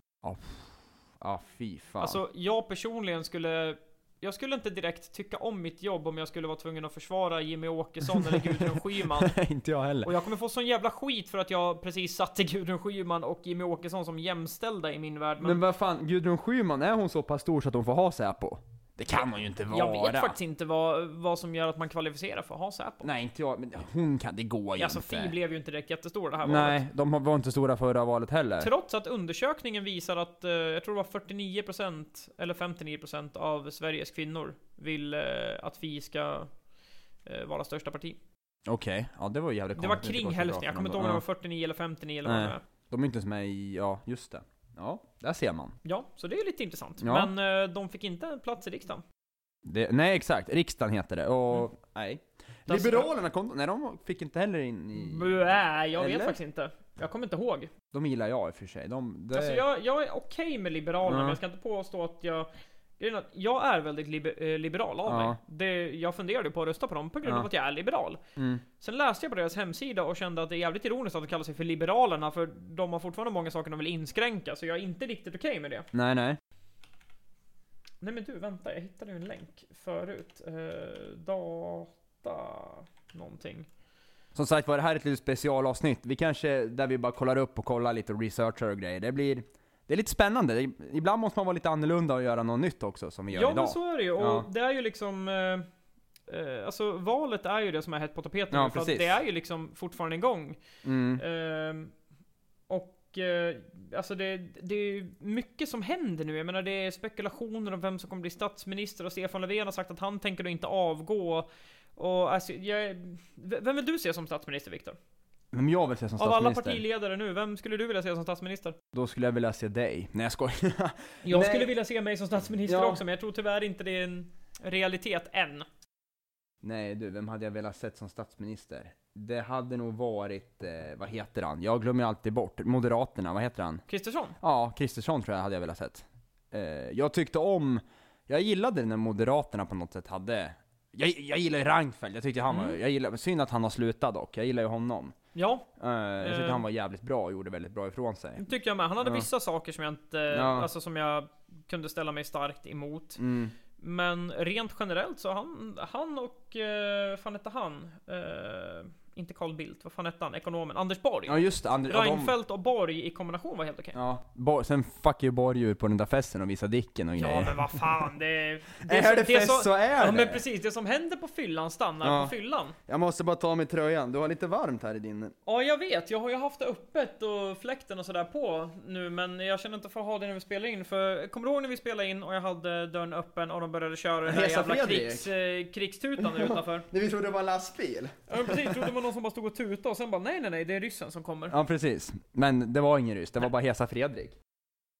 S1: Ja, fy fan.
S2: Alltså jag personligen skulle jag skulle inte direkt tycka om mitt jobb om jag skulle vara tvungen att försvara Jimmy Åkesson
S1: [laughs]
S2: eller Gudrun Schyman.
S1: [laughs] inte jag heller.
S2: Och jag kommer få sån jävla skit för att jag precis satte Gudrun Schyman och Jimmy Åkesson som jämställda i min värld. Men,
S1: Men vad fan, Gudrun Schyman, är hon så pass stor så att hon får ha Säpo? Det kan hon ju inte vara.
S2: jag vet faktiskt inte vad, vad som gör att man kvalificerar för att ha Säpo.
S1: Nej, inte jag. Men hon kan, det går ju
S2: Alltså
S1: inte.
S2: Fi blev ju inte direkt jättestor det här valet.
S1: Nej, de var inte stora förra valet heller.
S2: Trots att undersökningen visar att, eh, jag tror det var 49% eller 59% av Sveriges kvinnor vill eh, att Fi ska eh, vara största parti.
S1: Okej, ja det var jävligt
S2: Det var
S1: konstigt att
S2: kring
S1: går så bra
S2: hälften,
S1: för
S2: jag kommer inte
S1: dem
S2: ihåg
S1: då.
S2: om det var 49 eller 59 eller
S1: Nej.
S2: vad det är.
S1: De är inte ens med i, ja just det. Ja, där ser man.
S2: Ja, så det är lite intressant.
S1: Ja.
S2: Men eh, de fick inte plats i riksdagen.
S1: Det, nej exakt, riksdagen heter det och, nej.
S2: Där Mm. ser
S1: Liberalerna kom, nej de fick inte heller in i...
S2: Bäh, äh, jag vet
S1: Eller?
S2: faktiskt inte. Jag kommer inte ihåg.
S1: De gillar jag i och för sig. De, det,
S2: Alltså jag, jag är okej med Liberalerna,
S1: Ja.
S2: men jag ska inte påstå att jag... grejen är att Jag är väldigt liber, eh, liberal av
S1: Ja.
S2: mig. Det, jag funderade ju på att rösta på dem på grund
S1: Ja.
S2: av att jag är liberal.
S1: mm,
S2: Sen läste jag på deras hemsida och kände att det är jävligt ironiskt att de kallar sig för Liberalerna, för de har fortfarande många saker de vill inskränka, så jag är inte riktigt okej med det.
S1: nej nej.
S2: Nej men du, vänta, jag hittade ju en länk förut. Eh, data... Någonting.
S1: Som sagt var, det här är ett litet specialavsnitt. Vi kanske, där vi bara kollar upp och kollar lite och researchar och grejer. Det blir, det är lite spännande. Det, ibland måste man vara lite annorlunda och göra något nytt också som vi gör
S2: Ja men
S1: idag.
S2: så är det ju, och
S1: Ja.
S2: det är ju liksom eh, eh, Alltså valet är ju det som är hett på tapeten
S1: Ja,
S2: nu, för att
S1: precis.
S2: det är ju liksom fortfarande igång.
S1: Mm.
S2: Ehm, och eh, alltså det, det är ju mycket som händer nu. Jag menar det är spekulationer om vem som kommer bli statsminister och Stefan Löfven har sagt att han tänker då inte avgå. Och alltså, jag, v- vem vill du se som statsminister Viktor?
S1: Men jag vill se som
S2: Av alla
S1: statsminister,
S2: partiledare nu, vem skulle du vilja se som statsminister?
S1: då skulle jag vilja se dig. Nej jag skojar.
S2: Jag
S1: Nej.
S2: skulle vilja se mig som statsminister
S1: Ja.
S2: också, men jag tror tyvärr inte det är en realitet än.
S1: Nej du, vem hade jag velat sett som statsminister? Det hade nog varit, eh, vad heter han? Jag glömmer alltid bort. Moderaterna, vad heter han?
S2: Kristersson?
S1: Ja, Kristersson tror jag hade jag velat sett. Eh, jag tyckte om, jag gillade när Moderaterna på något sätt hade, jag, jag gillar ju Reinfeldt, jag tyckte han var,
S2: Mm.
S1: jag gillar, synd att han har slutat dock, jag gillar ju honom.
S2: Ja,
S1: Eh, jag tyckte
S2: Eh.
S1: han var jävligt bra och gjorde väldigt bra ifrån sig.
S2: det tycker jag med. Han hade
S1: Ja.
S2: vissa saker som jag inte,
S1: Ja.
S2: alltså som jag kunde ställa mig starkt emot.
S1: Mm.
S2: Men rent generellt så han, han och, eh, fan hette han? Eh, inte Carl Bildt, vad fan hette han, ekonomen, Anders Borg.
S1: Ja just det, Andr- ja, de-
S2: Reinfeldt och Borg i kombination var helt okej.
S1: Ja, Bo- sen fuck ju Borg ur på den där festen och visa dicken och
S2: Ja,
S1: grejer.
S2: men vad
S1: [laughs]
S2: fan, det... är-
S1: är det fest
S2: som,
S1: så är
S2: Ja
S1: det!
S2: men precis, det som händer på fyllan stannar
S1: Ja.
S2: på fyllan.
S1: Jag måste bara ta av mig tröjan, du har lite varmt här i din...
S2: Ja jag vet, jag har ju haft det öppet och fläkten och sådär på nu men jag känner inte för att ha det när vi spelar in för kommer du ihåg när vi spelade in och jag hade dörren öppen och de började köra den där
S1: Hesa
S2: jävla
S1: Fredrik.
S2: krigs, eh, krigstutan
S1: [laughs]
S2: där utanför?
S1: Det vi trodde det var lastbil.
S2: Ja men precis, trodde det var någon som bara stod och tutade och sen bara nej nej nej det är ryssen som kommer.
S1: Ja precis, men det var ingen ryss, det var bara Hesa Fredrik.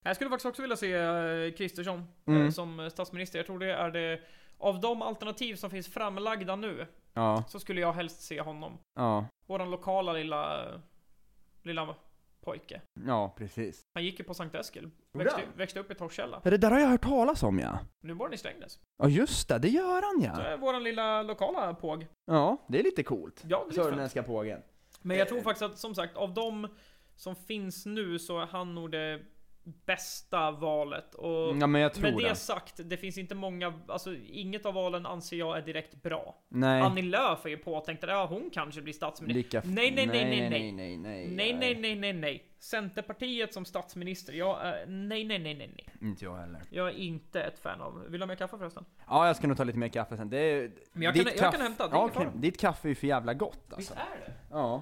S2: Jag skulle faktiskt också vilja se eh, Kristersson eh,
S1: Mm.
S2: som eh, statsminister. Jag tror det är det av de alternativ som finns framlagda nu
S1: Ja,
S2: så skulle jag helst se honom.
S1: ja,
S2: Våran lokala lilla, eh, lilla pojke.
S1: ja precis.
S2: Han gick ju på Sankt Eskil.
S1: Gjorde
S2: Växte,
S1: han?
S2: växte upp i Torshälla.
S1: Det där har jag hört talas om ja.
S2: Nu bor den i Strängnäs.
S1: Ja just det, det gör han
S2: Så
S1: ja.
S2: är våran lilla lokala påg.
S1: Ja, det är lite coolt.
S2: Ja, det är lite fett.
S1: Sörmländska pågen.
S2: Men jag tror faktiskt att som sagt, av de som finns nu så är han nog det bästa valet. Och
S1: Ja men Mm, jag tror
S2: med det
S1: det.
S2: sagt, det finns inte många, alltså inget av valen anser jag är direkt bra.
S1: Nej.
S2: Annie Lööf är ju påtänkt att ja, hon kanske blir statsminister.
S1: Lika... f-
S2: Nej, nej, nej,
S1: nej,
S2: nej, nej.
S1: nej, nej,
S2: Nej, nej, nej, nej, nej. Centerpartiet som statsminister, jag är... Nej, nej, nej, nej, nej.
S1: Inte jag heller.
S2: Jag är inte ett fan av... Vill du ha mer kaffe förresten?
S1: Ja, jag ska nog ta lite mer kaffe sen. Det är...
S2: Men jag
S1: ditt
S2: kan- jag kan hämta, det är
S1: ja,
S2: ingen fara.
S1: okej. Ditt kaffe är ju för jävla gott alltså.
S2: är det?
S1: Ja.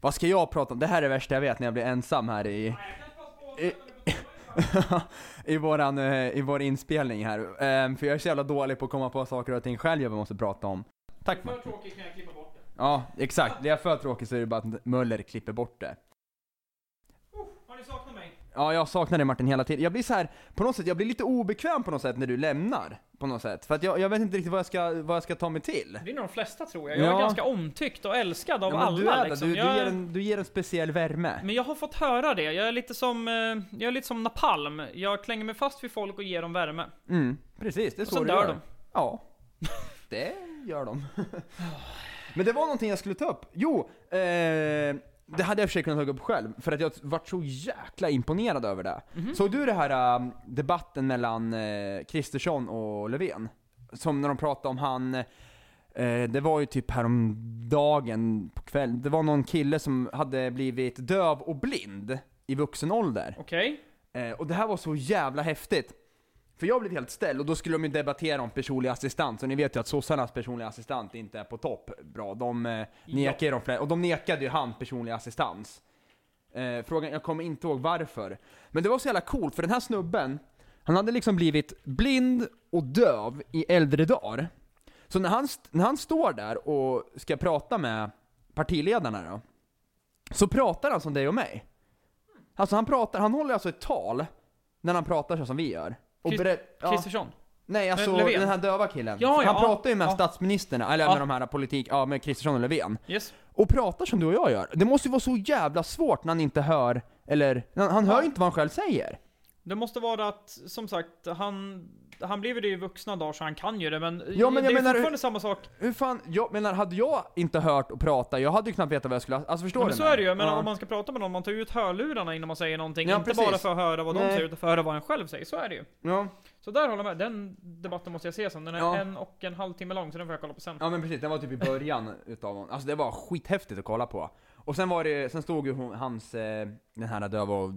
S1: Vad ska jag prata om? Det här är det värsta jag vet när jag blir ensam här i... [laughs] I, Eh. i, våran, eh, I vår inspelning här. Ehm, för jag är så jävla dålig på att komma på saker och ting själv jag måste prata om. Tack
S2: För
S1: Martin.
S2: tråkigt kan jag klippa bort det.
S1: Ja, exakt. Blir jag för tråkig så är det bara att Möller klipper bort det.
S2: Oh, har ni saknat mig?
S1: Ja, jag saknar dig Martin hela tiden. Jag blir så här, på något sätt, jag blir lite obekväm på något sätt när du lämnar. På något sätt. För att jag, jag vet inte riktigt vad jag ska, vad jag ska ta mig till.
S2: Det är nog de flesta tror jag. Jag är
S1: Ja.
S2: ganska omtyckt och älskad av
S1: Ja, men
S2: alla
S1: du, är det.
S2: liksom.
S1: du,
S2: jag...
S1: du, ger en, du ger en speciell värme.
S2: Men jag har fått höra det. Jag är lite som, eh, jag är lite som napalm. Jag klänger mig fast vid folk och ger dem värme.
S1: Mm, precis, det är
S2: Och
S1: så
S2: sen
S1: du
S2: dör
S1: gör.
S2: de.
S1: Ja, [laughs] det gör de. [laughs] Men det var någonting jag skulle ta upp. Jo, eh, det hade jag i och för sig kunnat ta upp själv, för att jag vart så jäkla imponerad över det. Såg du det här eh, debatten mellan eh, Kristersson och Löfven? Som när de pratade om han, eh, det var ju typ häromdagen på kvällen, det var någon kille som hade blivit döv och blind i vuxen ålder.
S2: Okej?
S1: Eh, och det här var så jävla häftigt. För jag blev helt ställd och då skulle de ju debattera om personlig assistans och ni vet ju att sossarnas personliga assistent inte är på topp bra. De eh, nekar ju de flesta, och de nekade ju han personlig assistans. Eh, frågan, jag kommer inte ihåg varför. Men det var så jävla coolt för den här snubben, han hade liksom blivit blind och döv i äldre dagar. Så när han, st- när han står där och ska prata med partiledarna då, så pratar han som dig och mig. Alltså han pratar, han håller alltså ett tal när han pratar så som vi gör. Och
S2: Christ-
S1: berä- ja.
S2: Kristersson?
S1: Nej, alltså
S2: Eh, Löfven.
S1: den här döva killen.
S2: Ja,
S1: han
S2: ja, ja.
S1: pratar ju med
S2: Ja.
S1: statsministerna, eller
S2: Ja.
S1: med de här politik, ja med Kristersson och Löfven.
S2: Yes.
S1: Och pratar som du och jag gör. Det måste ju vara så jävla svårt när han inte hör, eller, han, han hör ju inte vad han själv säger.
S2: Det måste vara att, som sagt, han... Han blev ju det i vuxna dagar så han kan ju det men...
S1: Ja, men jag
S2: det är
S1: menar-
S2: fortfarande samma sak.
S1: Hur fan, jag menar, hade jag inte hört och pratat, jag hade ju knappt vetat vad jag skulle, alltså förstår
S2: Ja,
S1: du
S2: men så
S1: mig?
S2: är det ju, men
S1: Ja.
S2: om man ska prata med någon, man tar ju ut hörlurarna innan man säger någonting.
S1: Ja,
S2: inte
S1: precis.
S2: bara för att höra vad de
S1: Nej.
S2: säger, utan för att höra vad en själv säger. Så är det ju.
S1: Ja.
S2: Så där håller jag med. Den debatten måste jag se sen. Den är
S1: Ja.
S2: en och en halv timme lång, så den får jag kolla på sen.
S1: Ja men precis, den var typ i början utav honom. Alltså det var skithäftigt att kolla på. Och sen var det, sen stod ju hon, hans, eh, den här döva och,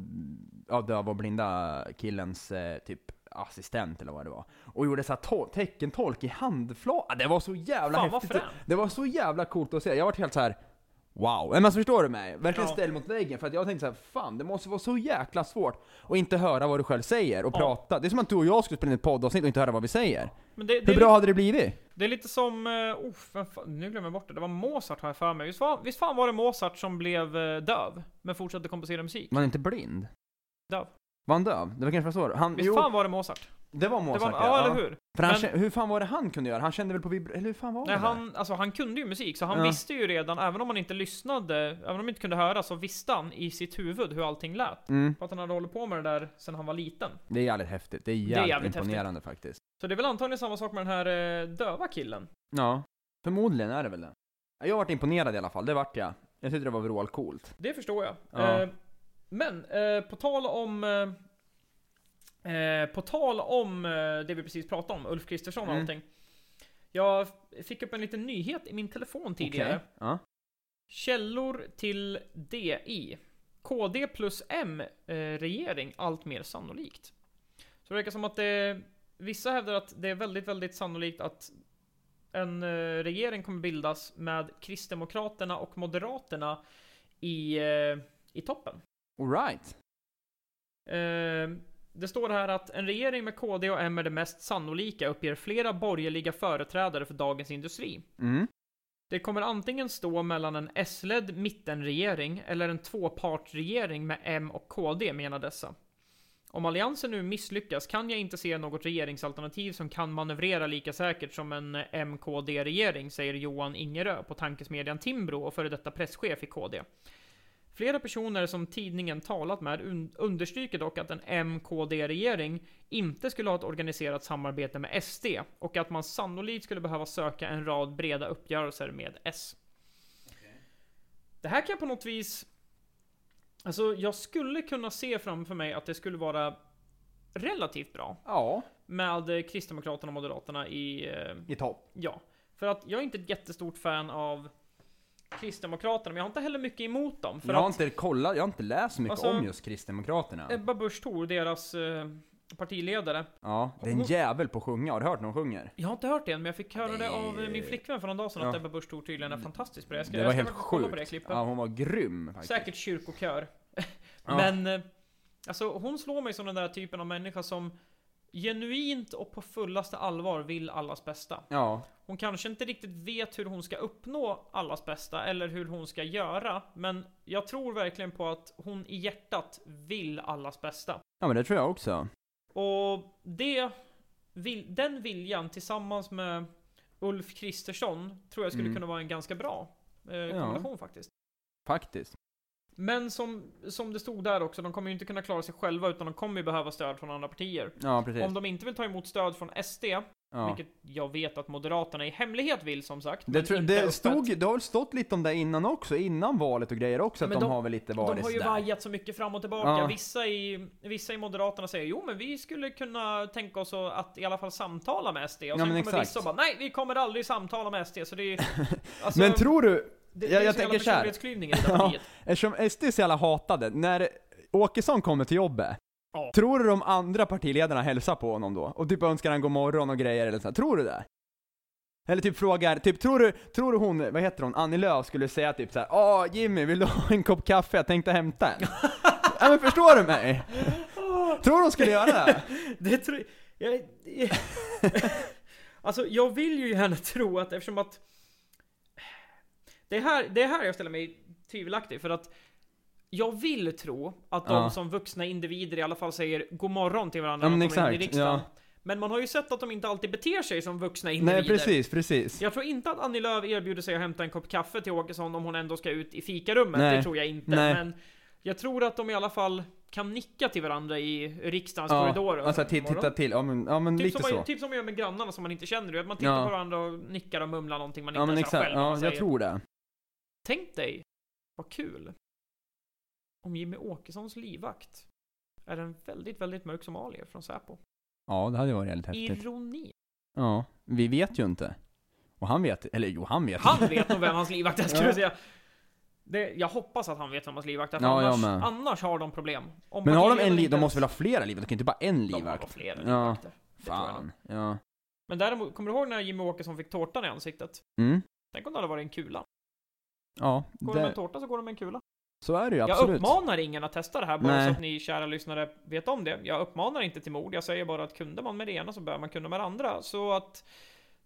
S1: ja, döva och blinda killens eh, typ assistent eller vad det var. Och gjorde såhär tol- teckentolk i handflatan. Det var så jävla
S2: Fan, vad
S1: häftigt.
S2: fränt.
S1: Det var så jävla coolt att se. Jag vart helt så här. Wow, men alltså förstår du mig? Verkligen
S2: Ja.
S1: ställd mot väggen för att jag tänkte så här, fan det måste vara så jäkla svårt att inte höra vad du själv säger och
S2: Ja.
S1: prata. Det är som att du och jag skulle spela in ett poddavsnitt och inte höra vad vi säger.
S2: Men det, det,
S1: Hur
S2: är
S1: bra
S2: lite,
S1: hade det blivit?
S2: det är lite som... eh, Oh, vem fan- nu glömmer jag bort det. Det var Mozart har jag för mig. Visst, var, visst fan var det Mozart som blev eh, döv, men fortsatte komposera musik?
S1: Man är inte blind.
S2: Döv.
S1: Var han döv? Det var kanske var så? Han,
S2: Visst
S1: jo,
S2: fan var det Mozart?
S1: det var
S2: Det
S1: Mozart
S2: var, ja, eller hur?
S1: För han,
S2: Men-
S1: kä- hur fan var det han kunde göra? Han kände väl på vibra... Eller hur fan var
S2: Nej,
S1: det? där?
S2: han, alltså, han kunde ju musik, så han
S1: Ja.
S2: visste ju redan, även om han inte lyssnade, även om han inte kunde höra, så visste han i sitt huvud hur allting lät.
S1: Mm.
S2: För att han hade hållit på med det där sedan han var liten.
S1: Det är jävligt häftigt. Det är jävligt,
S2: jävligt häftigt.
S1: imponerande faktiskt.
S2: Så det är väl antagligen samma sak med den här eh, döva killen.
S1: Ja. Förmodligen är det väl det. Ja, Jag vart imponerad i alla fall, det vart jag. Jag tyckte det var vrålcoolt.
S2: Det förstår jag.
S1: Ja.
S2: Eh, men eh, på tal om... eh, Eh, på tal om eh, det vi precis pratade om, Ulf Kristersson och
S1: Mm.
S2: allting. Jag f- fick upp en liten nyhet i min telefon tidigare.
S1: Okej. Ja.
S2: Källor till DI. KD plus M-regering allt mer sannolikt. Så det verkar som att det, vissa hävdar att det är väldigt, väldigt sannolikt att en eh, regering kommer bildas med Kristdemokraterna och Moderaterna i, eh, i toppen.
S1: Alright.
S2: Eh, Det står här att en regering med KD och M är det mest sannolika uppger flera borgerliga företrädare för Dagens Industri.
S1: Mm.
S2: Det kommer antingen stå mellan en S-ledd mittenregering eller en tvåpartsregering med M och KD, menar dessa. Om alliansen nu misslyckas kan jag inte se något regeringsalternativ som kan manövrera lika säkert som en MKD-regering, säger Johan Ingerö på tankesmedjan Timbro och före detta presschef i KD. Flera personer som tidningen talat med un- understryker dock att en MKD-regering inte skulle ha ett organiserat samarbete med SD och att man sannolikt skulle behöva söka en rad breda uppgörelser med S. Det här kan jag på något vis... Alltså, jag skulle kunna se framför mig att det skulle vara relativt bra
S1: Ja,
S2: med eh, Kristdemokraterna och Moderaterna i... eh,
S1: i topp.
S2: Ja, för att jag är inte ett jättestort fan av Kristdemokraterna, men jag har inte heller mycket emot dem. För
S1: jag har
S2: att
S1: inte kollat, jag har inte läst så mycket
S2: Alltså- Eh,
S1: om just Kristdemokraterna.
S2: Ebba Busch Thor, deras eh, partiledare,
S1: Ja, det är en jävel på att sjunga, har du hört när hon sjunger?
S2: jag har inte hört det än, men jag fick höra det,
S1: Det-
S2: av eh, min flickvän för någon dag sedan att
S1: Ja. Mm.
S2: Ebba Busch Thor tydligen är fantastisk på det. Jag ska,
S1: Det var
S2: jag ska
S1: helt
S2: faktiskt kolla på det
S1: sjukt.
S2: klippet.
S1: Ja, hon var grym faktiskt.
S2: Säkert kyrkokör.
S1: Ja.
S2: Men, eh, alltså hon slår mig som den där typen av människa som genuint och på fullaste allvar vill allas bästa.
S1: Ja,
S2: Hon kanske inte riktigt vet hur hon ska uppnå allas bästa eller hur hon ska göra. Men jag tror verkligen på att hon i hjärtat vill allas bästa.
S1: ja men det tror jag också.
S2: Och det, vil, den viljan tillsammans med Ulf Kristersson tror jag skulle
S1: Mm.
S2: kunna vara en ganska bra eh, kombination faktiskt.
S1: Faktiskt.
S2: Men som, som det stod där också, de kommer ju inte kunna klara sig själva utan de kommer ju behöva stöd från andra partier.
S1: Ja, precis.
S2: Om de inte vill ta emot stöd från SD,
S1: Ja.
S2: vilket jag vet att Moderaterna i hemlighet vill som sagt.
S1: Det,
S2: men
S1: tror,
S2: inte
S1: det,
S2: öppet.
S1: stod, det har väl stått lite om det innan också, innan valet och grejer också, att
S2: Men
S1: de,
S2: de-
S1: har väl lite varit
S2: De har ju
S1: sådär.
S2: vajat så mycket fram och tillbaka.
S1: Ja.
S2: Vissa, i, vissa i Moderaterna säger jo men vi skulle kunna tänka oss att i alla fall samtala med SD. Och sen
S1: men
S2: kommer
S1: exakt.
S2: vissa och bara nej vi kommer aldrig samtala med SD. Så
S1: [laughs]
S2: det är alltså,
S1: Men tror du,
S2: det,
S1: jag-
S2: det är
S1: jag
S2: så jävla
S1: tänker så här.
S2: personlighetsklyvning i det
S1: [laughs]
S2: där
S1: Ja.
S2: partiet.
S1: eftersom SD är så jävla hatade, när Åkesson kommer till jobbet,
S2: Ja.
S1: tror du de andra partiledarna hälsar på honom då? Och typ önskar han god morgon och grejer eller så här. tror du det? Eller typ frågar, typ tror du, tror du hon, vad heter hon, Annie Lööf skulle säga typ såhär Åh Jimmy, vill du ha en kopp kaffe? Jag tänkte hämta en. ja men förstår du mig? Tror du hon skulle göra det?
S2: Det tror jag... jag [laughs] alltså, jag vill ju gärna tro att eftersom att... Det är här, det är här jag ställer mig tvivelaktig, för att jag vill tro att de
S1: Ja.
S2: som vuxna individer i alla fall säger god morgon till varandra
S1: Ja,
S2: när
S1: men
S2: de kommer in i
S1: exakt,
S2: riksdagen.
S1: ja.
S2: Men man har ju sett att de inte alltid beter sig som vuxna individer.
S1: Nej precis, precis.
S2: Jag tror inte att Annie Lööf erbjuder sig att hämta en kopp kaffe till Åkesson om hon ändå ska ut i fikarummet.
S1: Nej.
S2: Det tror jag inte.
S1: Nej.
S2: Men jag tror att de i alla fall kan nicka till varandra i riksdagens
S1: Ja,
S2: korridorer.
S1: alltså att ti-
S2: Imorgon.
S1: titta till, ja men, ja, men
S2: Typ
S1: lite
S2: som, man,
S1: så.
S2: typ som man gör med grannarna som man inte känner. du vet. Man tittar
S1: Ja.
S2: på varandra och nickar och mumlar någonting man inte
S1: Ja men
S2: ens har
S1: exakt,
S2: själv. vad
S1: ja
S2: man
S1: jag
S2: säger.
S1: tror det.
S2: Tänk dig, vad kul. Om Jimmy Åkessons livvakt är en väldigt, väldigt mörk somalier från Säpo.
S1: Ja det hade ju varit väldigt häftigt.
S2: Ironi.
S1: Ja, vi vet ju inte. Och han vet, eller jo han vet.
S2: Han vet nog vem hans
S1: [laughs]
S2: livvakt är skulle
S1: Ja.
S2: jag säga. Det, jag hoppas att han vet vem hans livvakt är, för
S1: Ja, jag
S2: annars,
S1: med.
S2: annars har de problem. Om
S1: Men har de en
S2: partiledaren
S1: liv,
S2: inte
S1: de
S2: ens-
S1: måste väl ha flera livvakter? De kan ju inte bara en
S2: De har nog
S1: livvakt.
S2: flera
S1: Ja.
S2: livvakter. det tror jag nog.
S1: Fan. Ja.
S2: Men däremot, kommer du ihåg när Jimmy Åkesson fick tårtan i ansiktet?
S1: Mm.
S2: Tänk om det hade varit en kula.
S1: Ja,
S2: Går det... de med en
S1: det,
S2: tårta så går de med en kula.
S1: så är det ju
S2: Jag
S1: absolut.
S2: uppmanar ingen att testa det här, bara
S1: Nej.
S2: så att ni kära lyssnare vet om det. Jag uppmanar inte till mord, jag säger bara att kunde man med det ena så bör man kunna med det andra. Så att,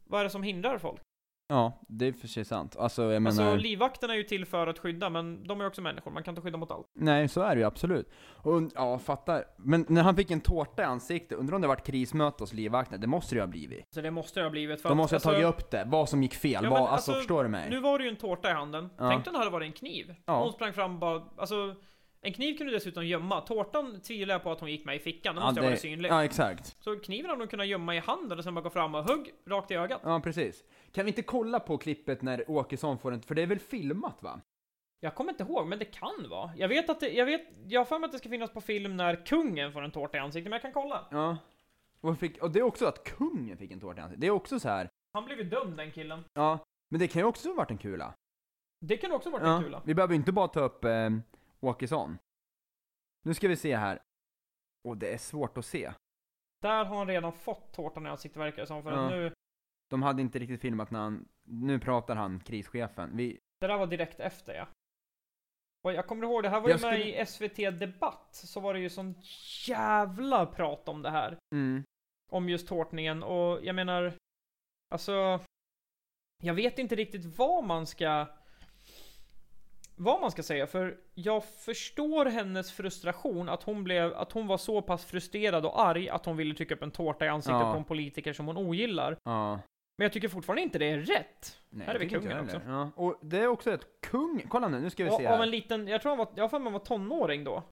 S2: vad är det som hindrar folk?
S1: Ja, det är för sig sant. Alltså jag menar,
S2: Alltså livvakterna är ju till för att skydda, men de är också människor, man kan inte skydda mot allt.
S1: nej så är det ju absolut. Och, ja, fattar. Men när han fick en tårta i ansiktet, undrar om det varit krismöte hos livvakterna? Det måste det ju ha blivit.
S2: Så det måste det ha blivit. För
S1: De
S2: att-
S1: måste ha
S2: alltså,
S1: tagit upp det, vad som gick fel,
S2: Ja,
S1: vad,
S2: men
S1: alltså,
S2: alltså,
S1: förstår du mig?
S2: Nu var det ju en tårta i handen.
S1: Ja.
S2: Tänk dig om det hade varit en kniv.
S1: Ja.
S2: Hon sprang fram och bara, alltså, en kniv kunde du dessutom gömma. Tårtan tvivlar jag på att hon gick med i fickan, den
S1: ja,
S2: måste ha varit
S1: det,
S2: synlig.
S1: ja, exakt.
S2: Så kniven hade hon kunnat gömma i handen och sen bara gå fram och hugg rakt i ögat.
S1: Ja, precis. Kan vi inte kolla på klippet när Åkesson får en, för det är väl filmat va?
S2: Jag kommer inte ihåg, men det kan vara. Jag vet att det, jag vet, jag har för mig att det ska finnas på film när kungen får en tårta i ansiktet, men jag kan kolla.
S1: Ja. Och, fick, och det är också att kungen fick en tårta i ansiktet. Det är också så här.
S2: Han blev ju dömd den killen.
S1: Ja, men det kan ju också ha varit en kula.
S2: Det kunde också varit en
S1: Ja,
S2: kula.
S1: vi behöver ju inte bara ta upp eh, Åkesson. Nu ska vi se här. Och det är svårt att se.
S2: Där har han redan fått tårtan i ansiktet verkar det som. För
S1: Ja.
S2: att nu,
S1: De hade inte riktigt filmat när han... Nu pratar han, krischefen. Vi,
S2: det där var direkt efter ja. Och jag kommer ihåg, det här var ju
S1: Jag
S2: med
S1: skulle-
S2: i SVT Debatt. Så var det ju sån jävla prat om det här.
S1: mm.
S2: om just tårtningen och jag menar, alltså, jag vet inte riktigt vad man ska, vad man ska säga för jag förstår hennes frustration att hon blev, att hon var så pass frustrerad och arg att hon ville trycka upp en tårta i ansiktet
S1: Ja.
S2: på en politiker som hon ogillar.
S1: Ja.
S2: Men jag tycker fortfarande inte det är rätt.
S1: Nej,
S2: Här är vi
S1: jag tycker inte
S2: kungen
S1: jag heller. Ja. Och det är också ett kung... Kolla nu, nu ska vi
S2: Och,
S1: se
S2: av
S1: här.
S2: en liten, jag tror han var, jag har för mig han var tonåring då.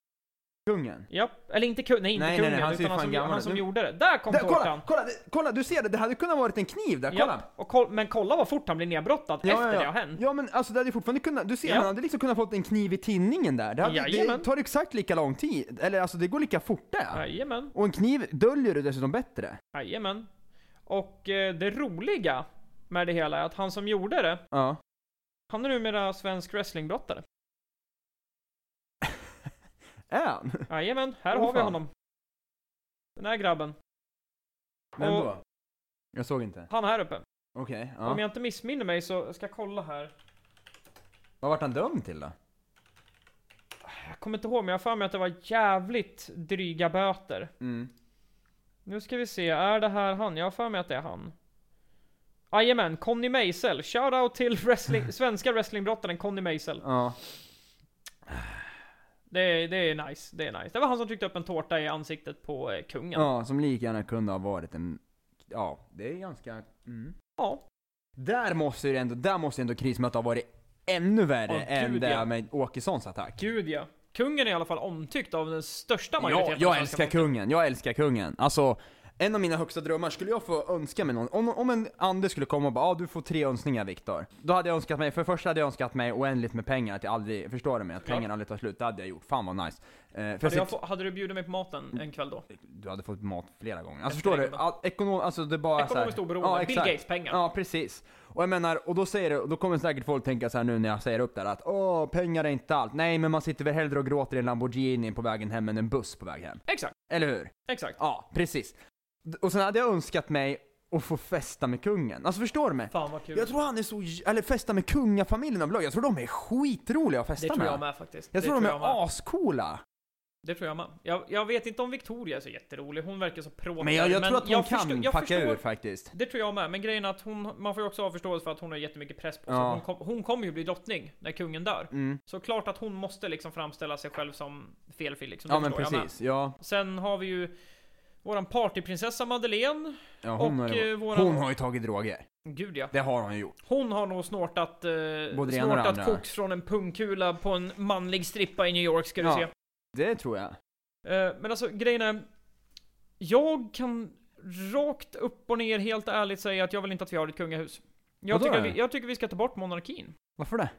S1: Kungen.
S2: Ja, eller inte kungen, nej inte
S1: Nej, nej, nej,
S2: kungen,
S1: han ser ju
S2: utan han
S1: fan
S2: som,
S1: gammal
S2: han
S1: ut.
S2: som
S1: Nu-
S2: gjorde det. Där kom
S1: Där,
S2: tårtan!
S1: kolla, kolla, det- kolla, du ser det! Det hade kunnat varit en kniv där, kolla!
S2: Ja, och koll, men kolla vad fort han blir nedbrottad
S1: Ja,
S2: efter
S1: ja, ja.
S2: det har hänt.
S1: Ja men alltså det hade ju fortfarande kunnat, du ser
S2: Mm. Ja.
S1: han hade liksom kunnat fått en kniv i tinningen där. Det, hade, det
S2: Jajamän.
S1: tar exakt lika lång tid, eller alltså det går lika fort det.
S2: Jajamän.
S1: Och en kniv döljer du dessutom bättre.
S2: Jajamän. Och eh, det roliga med det hela är att han som gjorde det,
S1: Ja.
S2: han är numera svensk wrestlingbrottare.
S1: Är han?
S2: Jajamän, här
S1: Åh,
S2: har vi
S1: fan.
S2: honom. Den här grabben.
S1: Vem
S2: Och-
S1: då? Jag såg inte.
S2: Han här uppe.
S1: Okej,
S2: Om
S1: ja.
S2: jag inte missminner mig så ska jag kolla här.
S1: Vad vart han dömd till då?
S2: Jag kommer inte ihåg, men jag har för mig att det var jävligt dryga böter.
S1: Mm.
S2: Nu ska vi se, är det här han? Jag har för mig att det är han. Jajamän, Conny Meisel. Shoutout till
S1: [laughs]
S2: wrestling, svenska wrestlingbrottaren Conny Meisel.
S1: Ja.
S2: Det, är- det är nice, det är nice. Det var han som tryckte upp en tårta i ansiktet på eh, kungen.
S1: ja, som lika gärna kunde ha varit en... Ja, det är ganska... Mm.
S2: ja.
S1: Där måste ju ändå, där måste ju ändå krismötet ha varit ännu värre
S2: Åh,
S1: än
S2: gud,
S1: det
S2: ja.
S1: med Åkessons attack.
S2: Gud ja. Kungen är i alla fall omtyckt av den största
S1: Ja,
S2: majoriteten av
S1: jag
S2: svenska
S1: älskar
S2: folket.
S1: kungen, jag älskar kungen. Alltså, en av mina högsta drömmar, skulle jag få önska mig någon, om, om en ande skulle komma och bara ah, du får tre önskningar Viktor. Då hade jag önskat mig, för det första hade jag önskat mig oändligt med pengar, att jag aldrig, förstår du mig? Att
S2: Ja.
S1: pengarna aldrig tar slut, det hade jag gjort. Fan vad nice. Eh, för jag
S2: Hade,
S1: sitter-
S2: jag få, hade du bjudit mig på
S1: Mm.
S2: maten en kväll då?
S1: Du hade fått mat flera gånger. Alltså
S2: Ett
S1: förstår du?
S2: regn.
S1: All, ekonom, alltså det är bara
S2: Ekonomiskt
S1: så här,
S2: oberoende. Bill
S1: exakt.
S2: Gates pengar.
S1: Ja, precis. Och jag menar, och då säger du, då kommer säkert folk tänka så här nu när jag säger upp det här att åh, pengar är inte allt. Nej, men man sitter väl hellre och gråter i en Lamborghini på vägen hem än en buss på väg hem.
S2: Exakt,
S1: Eller hur?
S2: exakt.
S1: Ja, precis. D- Och sen hade jag önskat mig att få festa med kungen. Alltså förstår du mig?
S2: Fan vad kul.
S1: Jag tror han är så, j- eller festa med kungafamiljen överlag. Jag tror de är skitroliga att festa
S2: det tror
S1: med.
S2: jag med faktiskt.
S1: Jag
S2: det
S1: tror de
S2: jag med.
S1: är ascoola.
S2: Det tror jag med. Jag, jag vet inte om Victoria är så jätterolig. Hon verkar så pråkig.
S1: Men jag, jag tror att de kan
S2: förstår- jag
S1: packa
S2: förstår-
S1: ur faktiskt.
S2: Det tror jag med, men grejen är att hon, man får ju också ha förståelse för att hon har jättemycket press på sig.
S1: Ja.
S2: Hon, kom, hon kommer ju bli drottning när kungen dör.
S1: Mm.
S2: Så klart att hon måste liksom framställa sig själv som felfri liksom. Det
S1: Ja men
S2: förstår jag med.
S1: precis, ja.
S2: Sen har vi ju våran partyprinsessa Madeleine.
S1: ja hon,
S2: och
S1: har ju,
S2: eh, våran...
S1: hon har ju tagit droger.
S2: Gud ja.
S1: Det har hon ju gjort.
S2: Hon har nog snortat,
S1: och
S2: eh,
S1: det andra.
S2: snortat koks från en pungkula på en manlig strippa i New York ska du
S1: Ja.
S2: se.
S1: Det tror jag.
S2: Eh, men alltså grejen är, jag kan rakt upp och ner helt ärligt säga att jag vill inte att vi har ett kungahus. Jag,
S1: Vadå då?
S2: tycker, vi, jag tycker vi ska ta bort monarkin.
S1: Varför det?
S2: För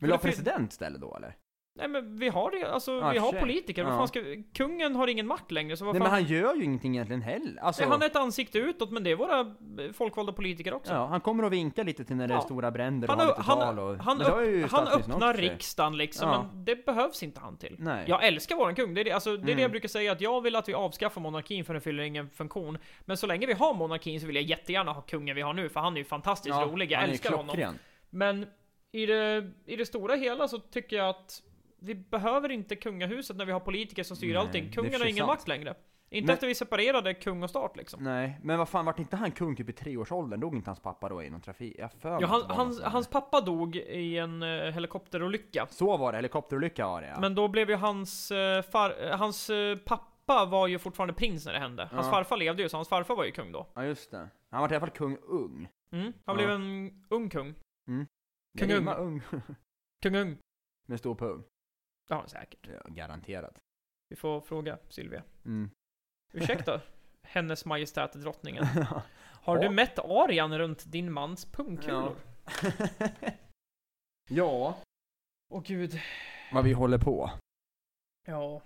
S1: Vill du ha
S2: det fin-
S1: president istället då eller?
S2: Nej men vi har det, alltså
S1: Ja,
S2: vi har
S1: tjej.
S2: politiker. Vad
S1: Ah, Ja.
S2: fan ska vi, kungen har ingen makt längre så vad
S1: Nej
S2: fan.
S1: men han gör ju ingenting egentligen heller. Alltså,
S2: Nej, han är ett ansikte utåt men det är våra eh, folkvalda politiker också.
S1: ja, han kommer och vinkar lite till när det är
S2: Ja.
S1: stora bränder och
S2: Han,
S1: har
S2: ö-
S1: lite
S2: han,
S1: tal och...
S2: han,
S1: Men det har ju
S2: öpp, han
S1: statsministern också
S2: öppnar
S1: i och för sig.
S2: riksdagen liksom,
S1: Ja.
S2: men det behövs inte han till.
S1: Nej.
S2: Jag älskar våran kung, det är, det, alltså, det, är det
S1: Mm.
S2: jag brukar säga att jag vill att vi avskaffar monarkin för den fyller ingen funktion. Men så länge vi har monarkin så vill jag jättegärna ha kungen vi har nu, för han är ju fantastiskt
S1: Ja,
S2: rolig, jag
S1: han är ju
S2: älskar honom.
S1: klockren.
S2: Men i det, i det stora hela så tycker jag att vi behöver inte kungahuset när vi har politiker som styr
S1: Nej, det
S2: allting.
S1: är
S2: Kungen
S1: för
S2: har ingen
S1: sant.
S2: makt längre. Inte
S1: Men-
S2: efter vi separerade kung och stat liksom.
S1: Nej, men vad fan vart inte han kung typ i treårsåldern? Dog inte hans pappa då i någon trafik? Jag har för mig
S2: Ja,
S1: att
S2: han,
S1: det var
S2: hans,
S1: någonstans.
S2: hans pappa dog i en eh, helikopterolycka.
S1: Så var det, helikopterolycka var det ja.
S2: Men då blev ju hans eh, far, eh, hans eh, pappa var ju fortfarande prins när det hände. Hans
S1: Ja.
S2: farfar levde ju, så hans farfar var ju kung då.
S1: Ja just det. Han var i alla fall kung ung.
S2: Mm. Han
S1: Ja.
S2: blev en ung kung.
S1: Det
S2: Kung ung.
S1: rimmar ung. [laughs]
S2: Kung ung.
S1: Med stor pung.
S2: Ja, säkert.
S1: Ja, garanterat.
S2: Vi får fråga Silvia.
S1: Mm. [laughs]
S2: [laughs] Ursäkta, hennes majestät [laughs] drottningen.
S1: Ja.
S2: Har
S1: Ja.
S2: du mätt arian runt din mans pungkulor?
S1: ja,
S2: Åh gud.
S1: vad vi håller på.
S2: Ja,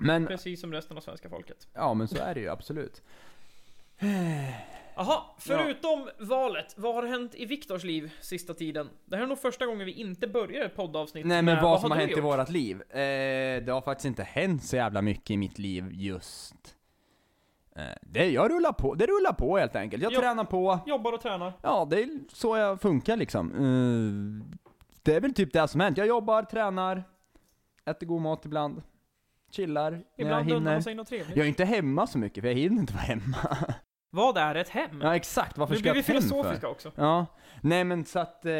S1: Men,
S2: precis som resten av svenska folket.
S1: [sighs] ja men så är det ju absolut.
S2: Jaha, förutom valet, vad har hänt i Viktors liv sista tiden? Det här är nog första gången vi inte börjar ett poddavsnitt
S1: Nej men
S2: med,
S1: vad som har
S2: Eh, du
S1: hänt i
S2: gjort?
S1: vårat liv? Eh, det har faktiskt inte hänt så jävla mycket i mitt liv just... Eh, det, jag rullar på, det rullar på helt enkelt. Jag
S2: Ja.
S1: tränar på,
S2: Jobbar och tränar.
S1: ja det är så jag funkar liksom. Eh, det är väl typ det som har hänt. Jag jobbar, tränar, äter god mat ibland, chillar när jag
S2: Ibland undrar
S1: hinner.
S2: man sig något trevligt.
S1: Jag är inte hemma så mycket för jag hinner inte vara hemma.
S2: Vad är ett hem?
S1: Ja exakt, varför
S2: nu
S1: ska jag
S2: blir Mm. vi
S1: hem för?
S2: filosofiska också.
S1: Ja, nej men så att eh,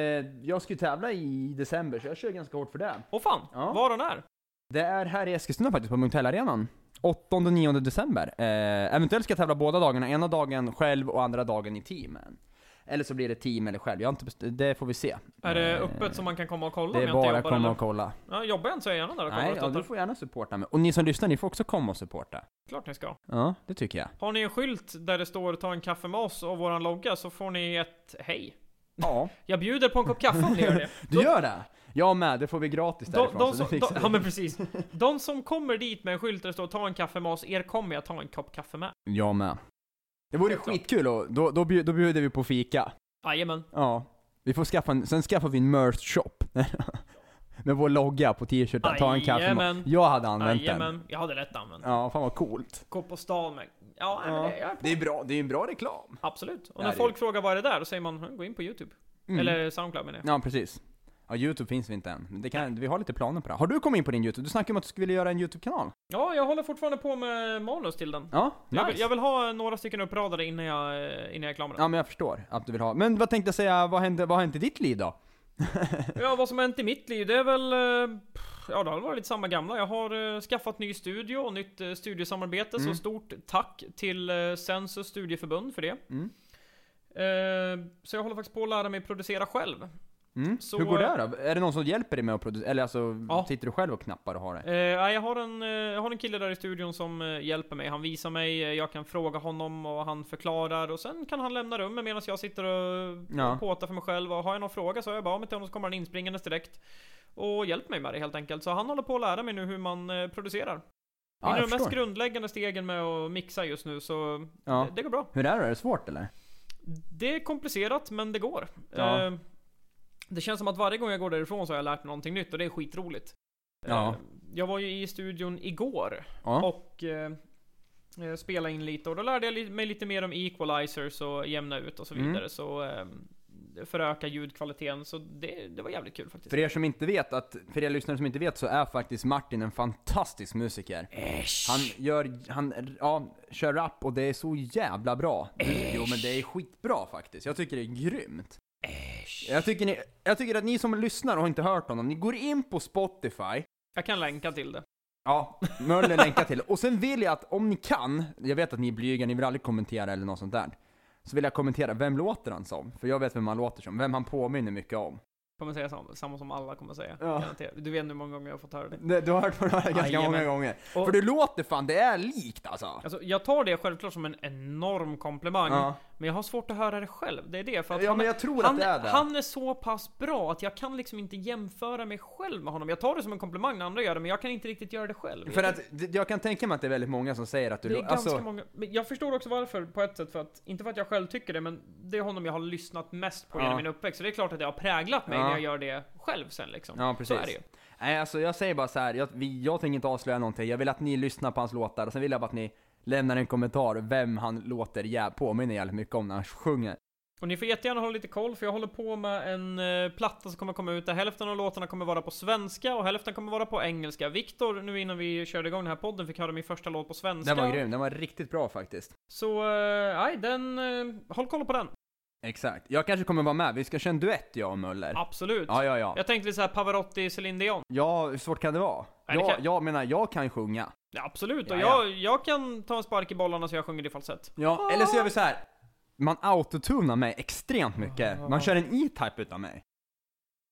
S1: jag ska ju tävla i december så jag kör ganska hårt för det.
S2: Åh fan,
S1: Ja.
S2: var den är?
S1: Det är här i Eskilstuna faktiskt, på Munktell-arenan. 8-9 december. Eh, eventuellt ska jag tävla båda dagarna, ena dagen själv och andra dagen i teamen. Eller så blir det team eller själv, jag har inte best- det får vi se.
S2: Är det
S1: Eh,
S2: öppet så man kan komma och kolla
S1: Det
S2: om
S1: är
S2: jag inte
S1: bara
S2: jobbar
S1: komma
S2: eller?
S1: och kolla.
S2: Ja, jobbar jag inte så är jag gärna där och kollar
S1: Nej,
S2: och
S1: ja, du
S2: stöttar.
S1: får gärna supporta mig. Och ni som lyssnar, ni får också komma och supporta.
S2: Klart ni ska.
S1: Ja, det tycker
S2: [laughs]
S1: jag.
S2: Har ni en skylt där det står 'Ta en kaffe med oss' och våran logga så får ni ett hej.
S1: Ja,
S2: Jag bjuder på en kopp kaffe om ni
S1: [laughs]
S2: gör det.
S1: du gör det! Jag med, det får vi gratis
S2: De,
S1: därifrån.
S2: de
S1: så
S2: som,
S1: det
S2: de,
S1: fixar vi.
S2: ja men precis. De som kommer dit med en skylt där det står 'Ta en kaffe med oss' er kommer jag ta en kopp kaffe med.
S1: Jag med. Det vore
S2: Helt klart.
S1: skitkul och då, då, bjud, då bjuder vi på fika.
S2: Jajamän.
S1: Ja. Vi får skaffa en, sen skaffar vi en merch shop. [laughs] Med vår logga på t-shirten, ta en kaffe med-
S2: Jajamän.
S1: Jag hade använt den.
S2: Jajamän. Jag hade rätt använt.
S1: Ja, fan vad coolt.
S2: Gå på stan med... Ja, nej, men det, jag är på.
S1: Det är bra, det är en bra reklam.
S2: Absolut. Och
S1: Ja,
S2: när
S1: det-
S2: folk frågar vad är det där, då säger man "Hm, gå in på YouTube.
S1: Mm.
S2: Eller SoundCloud menar jag.
S1: Ja, precis. Ja, Youtube finns vi inte än. Men Det kan, vi har lite planer på det. Har du kommit in på din Youtube? Du snackade om att du skulle vilja göra en Youtube-kanal.
S2: Ja, jag håller fortfarande på med manus till den.
S1: Ja, nice.
S2: Jag, vill, jag vill ha några stycken uppradade innan jag, eh, innan jag är klar med den.
S1: Ja, men jag förstår att du vill ha. Men vad tänkte jag säga, vad hände, vad hände i ditt liv då?
S2: Ja, vad som har hänt i mitt liv, det är väl... eh, pff, Ja, det har varit lite samma gamla. Jag har eh, skaffat ny studio och nytt eh, studiesamarbete,
S1: Mm.
S2: så stort tack till eh, Sensus studieförbund för det.
S1: Mm.
S2: Eh, så jag håller faktiskt på att lära mig producera själv.
S1: Mm.
S2: Så,
S1: Hur går det då? Är det någon som hjälper dig med att producera? Eller alltså,
S2: Ja.
S1: sitter du själv och knappar och har det?
S2: Eh, nej, jag, har en, eh, jag har en kille där i studion som eh, hjälper mig. Han visar mig, eh, jag kan fråga honom och han förklarar och sen kan han lämna rummet medan jag sitter och
S1: Ja.
S2: och påtar för mig själv. Och har jag någon fråga så har jag bara av mig till honom så kommer han inspringandes direkt. Och hjälper mig med det helt enkelt. Så han håller på att lära mig nu hur man eh, producerar.
S1: Ja,
S2: det är
S1: jag
S2: de mest
S1: förstår.
S2: grundläggande stegen med att mixa just nu så
S1: Ja.
S2: det, det går bra.
S1: Hur är det? Är det svårt eller?
S2: Det är komplicerat men det går.
S1: Ja.
S2: Eh, det känns som att varje gång jag går därifrån så har jag lärt mig någonting nytt och det är skitroligt. Eh,
S1: Ja.
S2: Jag var ju i studion igår
S1: Ja.
S2: och eh, eh, spela in lite och då lärde jag li- mig lite mer om equalizers och jämna ut och så
S1: Mm.
S2: vidare. Så eh, föröka ljudkvaliteten. Så det, det var jävligt kul faktiskt.
S1: För er som inte vet, att, för er lyssnare som inte vet så är faktiskt Martin en fantastisk musiker. Han gör, han, ja, kör rap och det är så jävla bra. Du, jo men det är skitbra faktiskt. Jag tycker det är grymt. Jag tycker, ni, jag tycker att ni som lyssnar och inte hört honom, ni går in på Spotify,
S2: Jag kan länka till det.
S1: Ja, Möller länkar till. Och sen vill jag att om ni kan, jag vet att ni är blyga, ni vill aldrig kommentera eller något sånt där. Så vill jag kommentera, vem låter han som? För jag vet vem han låter som, vem han påminner mycket om.
S2: Kommer säga samma, samma som alla kommer säga.
S1: Ja.
S2: Garanterat. Du vet hur många gånger jag har fått höra det.
S1: Det- Du har hört honom ganska
S2: Jajamän.
S1: många gånger.
S2: Och-
S1: För du låter fan, det är likt alltså.
S2: Alltså, jag tar det självklart som en enorm komplimang.
S1: Ja,
S2: Men jag har svårt att höra det själv. Det är det. För att
S1: ja
S2: han,
S1: men jag tror
S2: han,
S1: att det är det.
S2: han är så pass bra att jag kan liksom inte jämföra mig själv med honom. Jag tar det som en komplimang när andra gör det, men jag kan inte riktigt göra det själv.
S1: För att, det- jag kan tänka mig att det är väldigt många som säger att du
S2: det är
S1: lå-
S2: ganska
S1: alltså,
S2: många. Men jag förstår också varför på ett sätt. För att, inte för att jag själv tycker det, men det är honom jag har lyssnat mest på
S1: Ja.
S2: genom min uppväxt. Så det är klart att det har präglat mig
S1: Ja.
S2: när jag gör det själv sen liksom.
S1: Ja,
S2: Så är det
S1: precis.
S2: ju.
S1: Nej alltså jag säger bara så här. Jag, vi, jag tänker inte avslöja någonting. Jag vill att ni lyssnar på hans låtar och sen vill jag bara att ni lämnar en kommentar vem han låter jä- påminner jävligt mycket om när han sjunger.
S2: Och ni får jättegärna hålla lite koll, för jag håller på med en eh, platta som kommer komma ut där hälften av låtarna kommer vara på svenska och hälften kommer vara på engelska. Viktor, nu innan vi körde igång den här podden, fick höra min första låt på svenska.
S1: Den var grym, den var riktigt bra faktiskt.
S2: Så, eh, nej, den... eh, håll koll på den.
S1: Exakt. Jag kanske kommer vara med, vi ska köra en duett jag och Möller.
S2: Absolut.
S1: Ja, ja, ja.
S2: Jag tänkte lite såhär Pavarotti, Céline Dion.
S1: Ja, hur svårt kan det vara?
S2: Nej, det
S1: Jag,
S2: kan-
S1: jag menar, jag kan sjunga.
S2: Ja, absolut, och
S1: Ja, ja.
S2: Jag, jag kan ta en spark i bollarna så jag sjunger det i falsett.
S1: Ja, eller så gör vi så här. Man autotunar mig extremt mycket. Man kör en E-Type utan mig.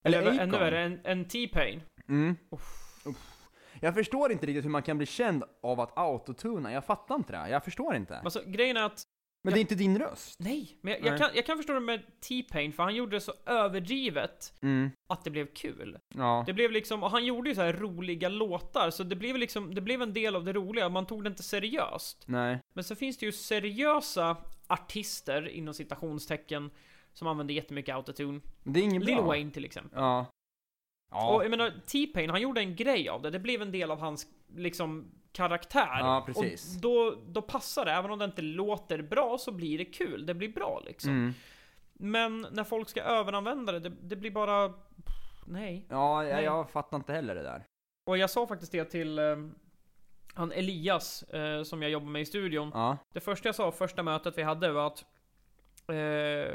S1: Eller
S2: Eller
S1: Akon.
S2: ännu värre, en, en T-Pain.
S1: Mm. Uff. Jag förstår inte riktigt hur man kan bli känd av att autotuna. Jag fattar inte det. här. Jag förstår inte.
S2: Alltså, grejen är att
S1: Men det är inte din röst.
S2: Nej, men jag, jag,
S1: Nej.
S2: kan, jag kan förstå det med T-Pain, för han gjorde det så överdrivet
S1: Mm,
S2: att det blev kul.
S1: ja.
S2: Det blev liksom, och han gjorde ju så här roliga låtar, så det blev liksom, det blev en del av det roliga, man tog det inte seriöst.
S1: Nej.
S2: Men så finns det ju seriösa artister, inom citationstecken, som använder jättemycket autotune.
S1: Det är inget
S2: Lil
S1: bra.
S2: Wayne till exempel.
S1: Ja.
S2: Och
S1: Ja.
S2: jag menar, T-Pain, han gjorde en grej av det. Det blev en del av hans, liksom, karaktär.
S1: Ja, precis.
S2: Och då, då passar det. Även om det inte låter bra så blir det kul. Det blir bra liksom.
S1: Mm.
S2: Men när folk ska överanvända det, det, det blir bara... Nej.
S1: Ja, jag,
S2: Nej.
S1: jag fattar inte heller det där.
S2: Och jag sa faktiskt det till eh, han Elias, eh, som jag jobbar med i studion.
S1: Ja.
S2: Det första jag sa, första mötet vi hade var att eh,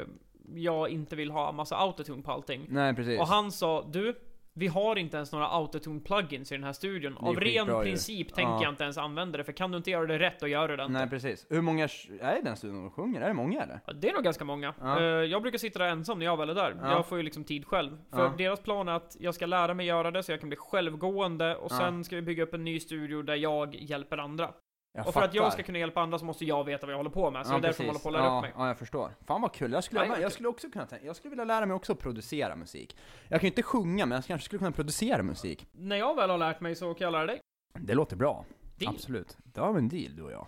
S2: jag inte vill ha massa autotune på allting.
S1: Nej, precis.
S2: Och han sa, du, vi har inte ens några autotune plugins i den här studion.
S1: Det är
S2: Av ren
S1: skitbra ju.
S2: princip tänker
S1: Ja.
S2: jag inte ens använda det, för kan du inte göra det rätt, då gör du det inte.
S1: Nej, precis. Hur många är det den studion de sjunger? Är det många eller?
S2: Ja, Det är nog ganska många.
S1: Ja.
S2: Eh, Jag brukar sitta där ensam när jag väl är där.
S1: Ja.
S2: Jag får ju liksom tid själv. För
S1: Ja.
S2: deras plan är att jag ska lära mig göra det så jag kan bli självgående och
S1: Ja.
S2: sen ska vi bygga upp en ny studio där jag hjälper andra.
S1: Jag
S2: och för att jag ska kunna hjälpa andra så måste jag veta vad jag håller på med. Så Alltså, det är därför de håller på att lära
S1: ja,
S2: upp mig.
S1: Ja, jag förstår. Fan vad kul. Jag skulle,
S2: Ja, det
S1: jag,
S2: var kul.
S1: skulle också kunna tänka, jag skulle vilja lära mig också att producera musik. Jag kan ju inte sjunga, men jag kanske skulle kunna producera musik.
S2: När jag väl har lärt mig så kan jag lära dig.
S1: Det låter bra.
S2: Deal.
S1: Absolut. Det har vi en deal, du och jag.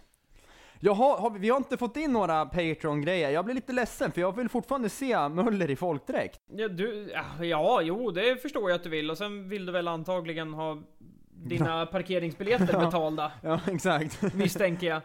S1: Jaha, har vi, vi har inte fått in några Patreon-grejer. Jag blir lite ledsen, för jag vill fortfarande se Möller i folkdräkt. [laughs]
S2: Ja, du, ja, ja, jo, det förstår jag att du vill. Och sen vill du väl antagligen ha
S1: [laughs]
S2: dina parkeringsbiljetter
S1: Ja.
S2: betalda,
S1: Ja, exakt.
S2: misstänker jag.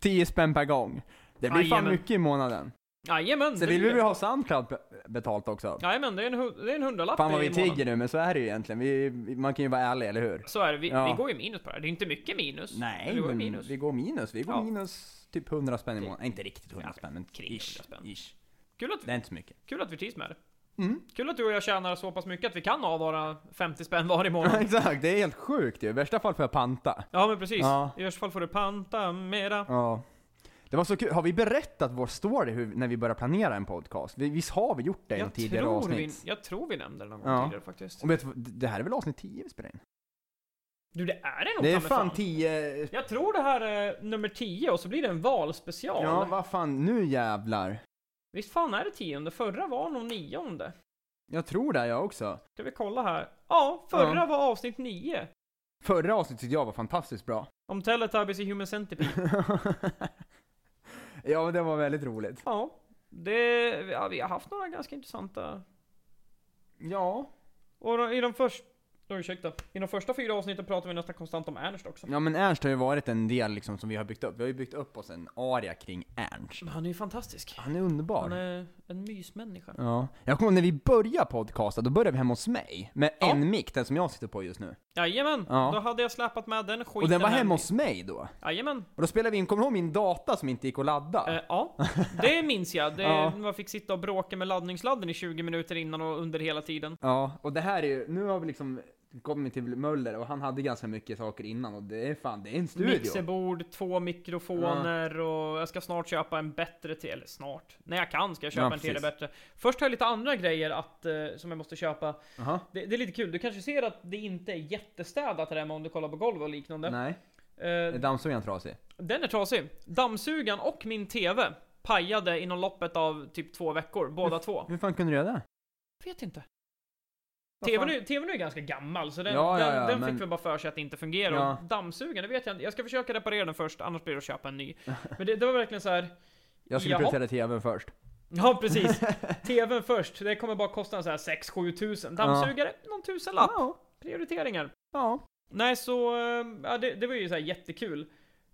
S1: 10 spänn per gång. Det blir fan
S2: Jajamän.
S1: mycket i månaden.
S2: Jajamän, det
S1: Sen vill vi
S2: blir
S1: väl
S2: det.
S1: ha Soundcloud be- betalt också.
S2: Jajamän, det är en, hu- det är en hundralapp
S1: Fan vad
S2: i
S1: vi
S2: månaden.
S1: tigger nu, men så är det ju egentligen. Vi, vi- man kan ju vara ärlig, eller hur?
S2: Så är det, vi,
S1: Ja.
S2: vi går ju minus på det här. Det är inte mycket minus.
S1: Nej,
S2: men det går ju
S1: men
S2: minus.
S1: vi går minus. Vi går
S2: Ja.
S1: minus typ 100 spänn i
S2: Kring-
S1: månaden. Nej, inte riktigt 100
S2: Ja,
S1: spänn, men
S2: kring 100 spänn.
S1: ish.
S2: Kul, att,
S1: Det är inte så mycket.
S2: kul att vi trivs med det.
S1: Mm.
S2: Kul att du och jag tjänar så pass mycket att vi kan ha våra 50 spänn var i
S1: [laughs]
S2: månaden.
S1: Exakt, det är helt sjukt ju. I värsta fall får jag panta.
S2: Ja men precis.
S1: Ja.
S2: I värsta fall får du panta mera.
S1: Ja. Det var så kul. Har vi berättat vår story hur, när vi började planera en podcast? Vi, visst har vi gjort det i något
S2: Jag
S1: tidigare
S2: tror, vi,
S1: avsnitt?
S2: jag tror vi nämnde det någon gång
S1: Ja.
S2: tidigare faktiskt.
S1: Och vet du, vad? det här är väl avsnitt 10 vi spelar in?
S2: Du det är det nog
S1: Det är
S2: ta mig
S1: fan 10...
S2: Jag tror det här är nummer 10 och så blir det en valspecial.
S1: Ja, vad fan, nu jävlar.
S2: Visst fan är det tionde? Förra var nog nionde.
S1: Jag tror det jag också.
S2: Ska vi kolla här? Ja, förra
S1: Ja.
S2: var avsnitt nio.
S1: Förra avsnittet tyckte jag var fantastiskt bra. [laughs]
S2: Om Teletubbies i Human Centipede.
S1: ja, men det var väldigt roligt.
S2: Ja, det, ja, vi har haft några ganska intressanta.
S1: Ja.
S2: Och då- i de första, ursäkta, i de första fyra avsnitten pratar vi nästan konstant om Ernst också.
S1: Ja, men Ernst har ju varit en del liksom som vi har byggt upp. Vi har ju byggt upp oss en aria kring Ernst.
S2: Men han är ju fantastisk.
S1: Han är underbar.
S2: Han är en mysmänniska.
S1: Ja. Jag kommer ihåg när vi började podcasta, då började vi hemma hos mig. Med
S2: Ja.
S1: en mick, den som jag sitter på just nu.
S2: Jajamän,
S1: Ja.
S2: då hade jag släpat med den skiten.
S1: och den var
S2: här.
S1: hemma hos mig då.
S2: Jajamän.
S1: Och då spelade vi in, kommer du ihåg min data som inte gick att ladda?
S2: Eh, ja, det minns jag.
S1: [laughs]
S2: Det,
S1: Ja.
S2: Man fick sitta och bråka med laddningsladden i 20 minuter innan och under hela tiden.
S1: Ja, och det här är ju, nu har vi liksom kommit till Möller och han hade ganska mycket saker innan och det är fan, det är en studio.
S2: Mixerbord, två mikrofoner och jag ska snart köpa en bättre till, eller snart, när jag kan ska jag köpa
S1: Ja,
S2: en till
S1: precis.
S2: bättre. Först har jag lite andra grejer att, eh, som jag måste köpa.
S1: Jaha.
S2: Det, det är lite kul, du kanske ser att det inte är jättestädat här hemma om du kollar på golv och liknande.
S1: Nej,
S2: Eh,
S1: är dammsugaren trasig?
S2: den är trasig. Dammsugan och min TV pajade inom loppet av typ två veckor, båda två.
S1: [laughs] Hur fan kunde du göra det?
S2: Vet inte.
S1: Vad
S2: TVn
S1: fan?
S2: är, TVn är ju ganska gammal, så den,
S1: Ja, ja,
S2: den,
S1: ja,
S2: den
S1: men-
S2: fick väl bara för sig att det inte fungerar.
S1: Ja.
S2: Och dammsugaren, det vet jag inte. Jag ska försöka reparera den först, annars blir det att köpa en ny. Men det, det var verkligen så här.
S1: Jag skulle
S2: Jaha.
S1: prioritera tvn först.
S2: Ja
S1: [laughs]
S2: precis, TVn först, det kommer bara kosta en så här 6-7 tusen. Dammsugare, någon tusenlapp.
S1: Ja.
S2: Prioriteringar.
S1: Ja.
S2: Nej så, eh, ja, det, det var ju så här jättekul.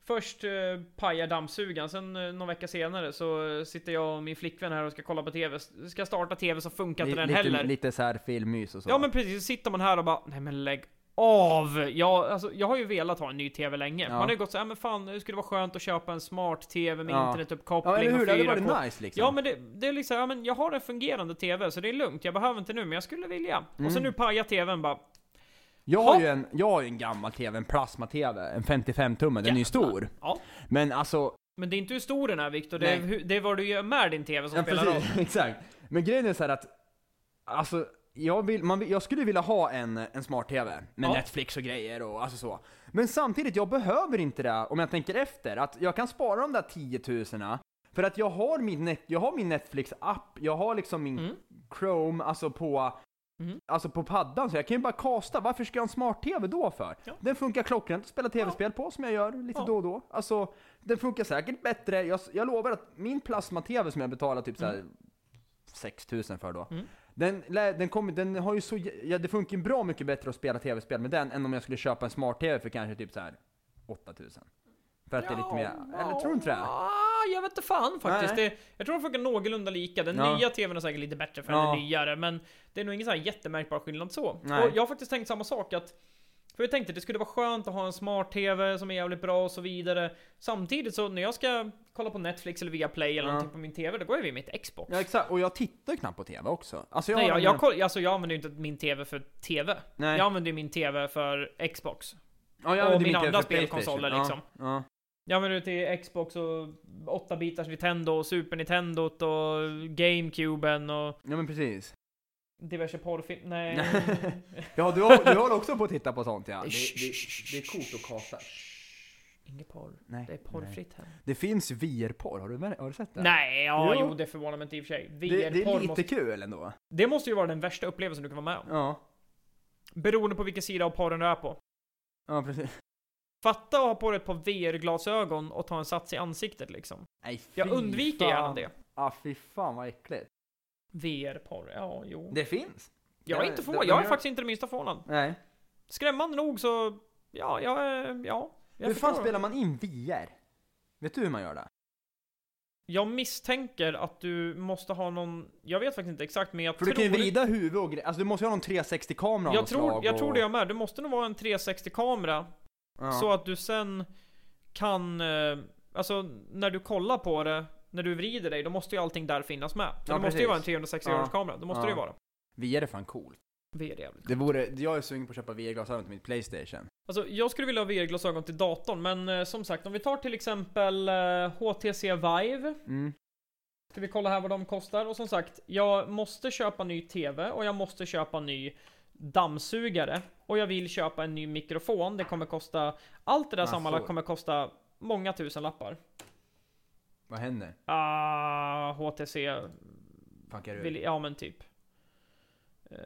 S2: Först eh, pajar dammsugaren, sen eh, någon vecka senare så eh, sitter jag och min flickvän här och ska kolla på TV. S- Ska starta TV så funkar inte
S1: Li-
S2: den
S1: lite,
S2: heller.
S1: Lite så här filmmys och så.
S2: Ja men precis, så sitter man här och bara Nej men lägg av! Jag, alltså, jag har ju velat ha en ny TV länge.
S1: Ja.
S2: Man har ju gått så här, men fan det skulle vara skönt att köpa en smart TV med
S1: Ja.
S2: internetuppkoppling
S1: ja, eller hur?
S2: och
S1: Det hade
S2: 4K.
S1: varit nice liksom.
S2: Ja men det, det är liksom, ja, men jag har en fungerande TV så det är lugnt. Jag behöver inte nu men jag skulle vilja. Och
S1: Mm.
S2: så nu pajar TVn bara.
S1: jag, har
S2: Ha.
S1: ju en, jag har ju en gammal tv, en plasma-tv, en 55-tumme, den är ju
S2: Jävlar.
S1: stor.
S2: Ja.
S1: Men alltså,
S2: Men det är inte hur stor den är Viktor, det, är
S1: Nej.
S2: hur- det är vad du gör med din TV som
S1: Ja, [laughs]
S2: spelar roll.
S1: precis, exakt. Men grejen är så här att, alltså, jag, vill, man, vill- jag skulle vilja ha en, en smart-tv med
S2: Ja.
S1: Netflix och grejer och alltså så. Men samtidigt, jag behöver inte det om jag tänker efter. Att jag kan spara de där 10 000 för att jag har min, net, jag har min Netflix-app, jag har liksom min
S2: Mm.
S1: Chrome, alltså på,
S2: Mm.
S1: alltså på paddan. Så jag kan ju bara kasta. Varför ska jag ha en smart-tv då för?
S2: Ja.
S1: Den funkar klockrent att spela tv-spel på som jag gör lite
S2: Ja.
S1: då och då. Alltså, den funkar säkert bättre. Jag, jag lovar att min plasma-tv som jag betalar typ så här 6000 för då.
S2: Mm.
S1: Den, lä- den, kommer, den har ju så, jä- ja, det funkar ju bra mycket bättre att spela tv-spel med den än om jag skulle köpa en smart-tv för kanske typ så här 8000. För att det är lite mer, eller tror du inte det?
S2: Ja, ah, jag vet inte fan faktiskt.
S1: Nej.
S2: Det, jag tror de funkar någorlunda lika. Den
S1: Ja.
S2: nya tvn är säkert lite bättre för
S1: Ja.
S2: den är nyare, men det är nog ingen så här jättemärkbar skillnad så.
S1: Nej.
S2: Och jag har faktiskt tänkt samma sak att för jag tänkte det skulle vara skönt att ha en smart-tv som är jävligt bra och så vidare. Samtidigt så när jag ska kolla på Netflix eller Viaplay eller
S1: Ja.
S2: någonting på min TV, då går jag vid mitt Xbox.
S1: Ja exakt, och jag tittar ju knappt på tv också. Alltså jag,
S2: Nej,
S1: har
S2: jag,
S1: den-
S2: jag, koll, alltså, jag använder ju inte min TV för TV.
S1: Nej.
S2: Jag använder ju min TV för Xbox.
S1: ja,
S2: och
S1: använder
S2: mina
S1: min TV
S2: andra
S1: för Playstation.
S2: spelkonsoler,
S1: Ja,
S2: liksom.
S1: Ja,
S2: Jag använder det till Xbox och 8-bitars Nintendo och Super Nintendot och GameCuben och
S1: ja men precis.
S2: diverse porrfilm...
S1: [laughs]
S2: Nej.
S1: Ja du, har, du håller också på att titta på sånt ja. Det, det, det är kort och kasa.
S2: Inget porr.
S1: Nej.
S2: Det är porrfritt här.
S1: Det finns VR-porr, har du, mär- har du sett det?
S2: Nej, ja,
S1: Jo.
S2: jo. det förvånar mig inte i och för sig. VR-porr
S1: Det, det är lite
S2: måste...
S1: kul ändå.
S2: Det måste ju vara den värsta upplevelsen du kan vara med om.
S1: Ja,
S2: Beroende på vilken sida av porren du är på.
S1: ja precis.
S2: Fatta att ha på dig ett par VR-glasögon och ta en sats i ansiktet liksom.
S1: Nej,
S2: Jag
S1: fy
S2: undviker
S1: fan.
S2: gärna det.
S1: Ah, fy fan vad äckligt.
S2: VR-porr, ja, jo.
S1: Det finns.
S2: jag är
S1: det-
S2: inte
S1: det-
S2: förvånad.
S1: de
S2: Jag är
S1: gör-
S2: faktiskt inte det minsta förvånad.
S1: Nej.
S2: Skrämmande nog så, ja, jag, är- ja. Jag
S1: hur fan
S2: förstår.
S1: spelar man in VR? Vet du hur man gör det?
S2: Jag misstänker att du måste ha någon, jag vet faktiskt inte exakt men jag
S1: För
S2: tror...
S1: du kan ju vrida huvud och grejer. Alltså du måste ju ha någon 360-kamera av
S2: jag
S1: något
S2: tror,
S1: slag
S2: jag
S1: och...
S2: tror det jag med. Du måste nog vara en 360-kamera
S1: Ja.
S2: så att du sen kan, eh, alltså när du kollar på det, när du vrider dig, då måste ju allting där finnas med. Så
S1: Ja,
S2: det måste ju
S1: precis.
S2: vara en 360-graderskamera, då måste
S1: Ja.
S2: det ju vara.
S1: VR är fan coolt.
S2: VR är jävligt
S1: Det vore, jag är sugen på att köpa VR-glasögon till mitt Playstation.
S2: Alltså jag skulle vilja ha VR-glasögon till datorn, men eh, som sagt om vi tar till exempel eh, HTC Vive.
S1: Mm.
S2: Ska vi kolla här vad de kostar? Och som sagt, jag måste köpa ny TV och jag måste köpa ny dammsugare. Och jag vill köpa en ny mikrofon. Det kommer kosta... Allt det där
S1: Massor.
S2: sammanlagt kommer kosta många tusen lappar.
S1: Vad händer?
S2: Ah, HTC
S1: Fuckar
S2: vill...
S1: du?
S2: Ja men typ. Eh,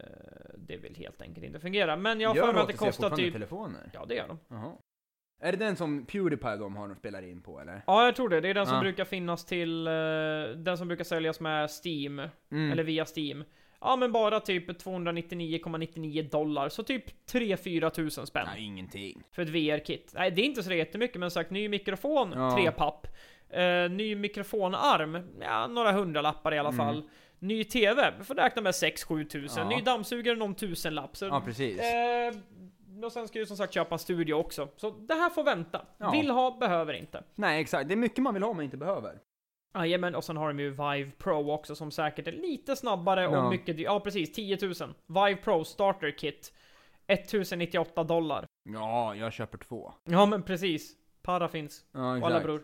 S2: det vill helt enkelt inte fungera. Men jag har
S1: Gör
S2: för mig att det
S1: HTC
S2: kostar
S1: fortfarande
S2: typ...
S1: telefoner?
S2: Ja det gör de.
S1: Jaha. Är det den som Pewdiepie de har de spelar in på eller?
S2: Ja jag tror det. Det är den som
S1: Ah.
S2: brukar finnas till... eh, den som brukar säljas med Steam.
S1: Mm.
S2: eller via Steam. Ja men bara typ 299,99 dollar, så typ 3-4 tusen spänn
S1: Nej, ingenting.
S2: för ett VR-kit. Nej det är inte så jättemycket men sagt, ny mikrofon,
S1: Ja.
S2: tre papp. Eh, ny mikrofonarm, ja några hundralappar i alla
S1: Mm.
S2: fall. Ny TV, vi får räkna med 6-7 tusen.
S1: Ja.
S2: Ny dammsugare, någon tusenlapp. Så,
S1: Ja, precis.
S2: eh, och sen ska jag ju som sagt köpa en studio också. Så det här får vänta.
S1: Ja.
S2: Vill ha, behöver inte.
S1: Nej, exakt. Det är mycket man vill ha men inte behöver.
S2: Jajamän, och sen har de ju Vive Pro också som säkert är lite snabbare
S1: Ja.
S2: och mycket dy- Ja precis, 10 000. Vive Pro Starter Kit. 1098 dollar.
S1: Ja, jag köper två.
S2: Ja men precis. Para finns.
S1: Ja,
S2: Och alla bror.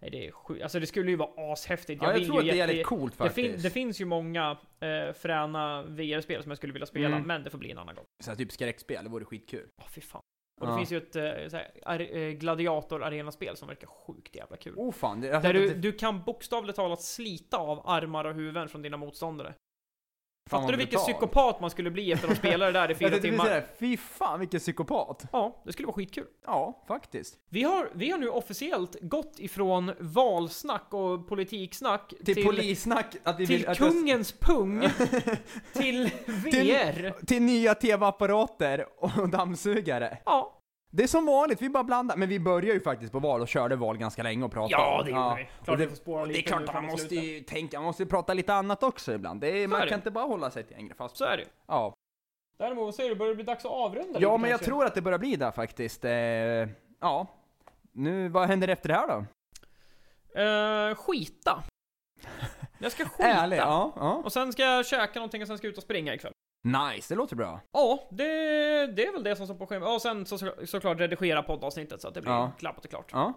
S2: Nej det är sjukt. Alltså det skulle ju vara ashäftigt.
S1: Ja, jag
S2: vill
S1: tror att
S2: ju
S1: det är
S2: jätte-
S1: jävligt coolt
S2: det,
S1: faktiskt.
S2: fin- det finns ju många eh, fräna VR-spel som jag skulle vilja spela,
S1: Mm.
S2: men det får bli en annan gång.
S1: Så här, typ skräckspel, det vore skitkul.
S2: Åh fy fan. Och det
S1: Ja.
S2: finns ju ett eh, så här, ar- eh, gladiator-arenaspel som verkar sjukt jävla kul.
S1: Oh fan, det, jag har
S2: Där
S1: sett
S2: du,
S1: att det,
S2: du kan bokstavligt talat slita av armar och huvuden från dina motståndare.
S1: fan
S2: Fattar du
S1: vad
S2: vilken
S1: brutalt.
S2: psykopat man skulle bli efter att
S1: [laughs]
S2: spela det där i
S1: Jag
S2: fyra
S1: tänkte precis
S2: timmar?
S1: säga det, fy fan vilken psykopat.
S2: Ja, det skulle vara skitkul.
S1: Ja, faktiskt.
S2: Vi har, vi har nu officiellt gått ifrån valsnack och politiksnack
S1: Till, polissnack, att vi
S2: till
S1: vill... att jag-
S2: kungens
S1: [laughs]
S2: pung [laughs] till VR.
S1: till nya tv-apparater och [laughs] dammsugare.
S2: Ja,
S1: Det är som vanligt, vi bara blandar. Men vi börjar ju faktiskt på val och körde val ganska länge och pratade
S2: ja
S1: om.
S2: det gjorde vi.
S1: Och
S2: Klart vi
S1: det,
S2: får spåra
S1: och det
S2: lite
S1: är klart att man måste ju tänka, man måste ju prata lite annat också ibland. Det är,
S2: Så
S1: man
S2: är det.
S1: kan inte bara hålla sig till en grej. Fast,
S2: Så är det ju.
S1: ja.
S2: Däremot, vad säger du? Börjar det bli dags att avrunda
S1: ja,
S2: lite
S1: men jag
S2: kanske?
S1: tror att det börjar bli där faktiskt. Eh, ja. Nu, vad händer efter det här då?
S2: Eh, skita.
S1: [laughs]
S2: Jag ska skita.
S1: Ärligt? Ja, ja.
S2: Och sen ska jag käka någonting och sen ska jag ut och springa ikväll.
S1: Nice, det låter bra.
S2: Ja, det, det är väl det som står på schemat. Ja, Och sen så, såklart redigera poddavsnittet så att det blir
S1: Ja. Eh,
S2: klappat och klart.
S1: Ja.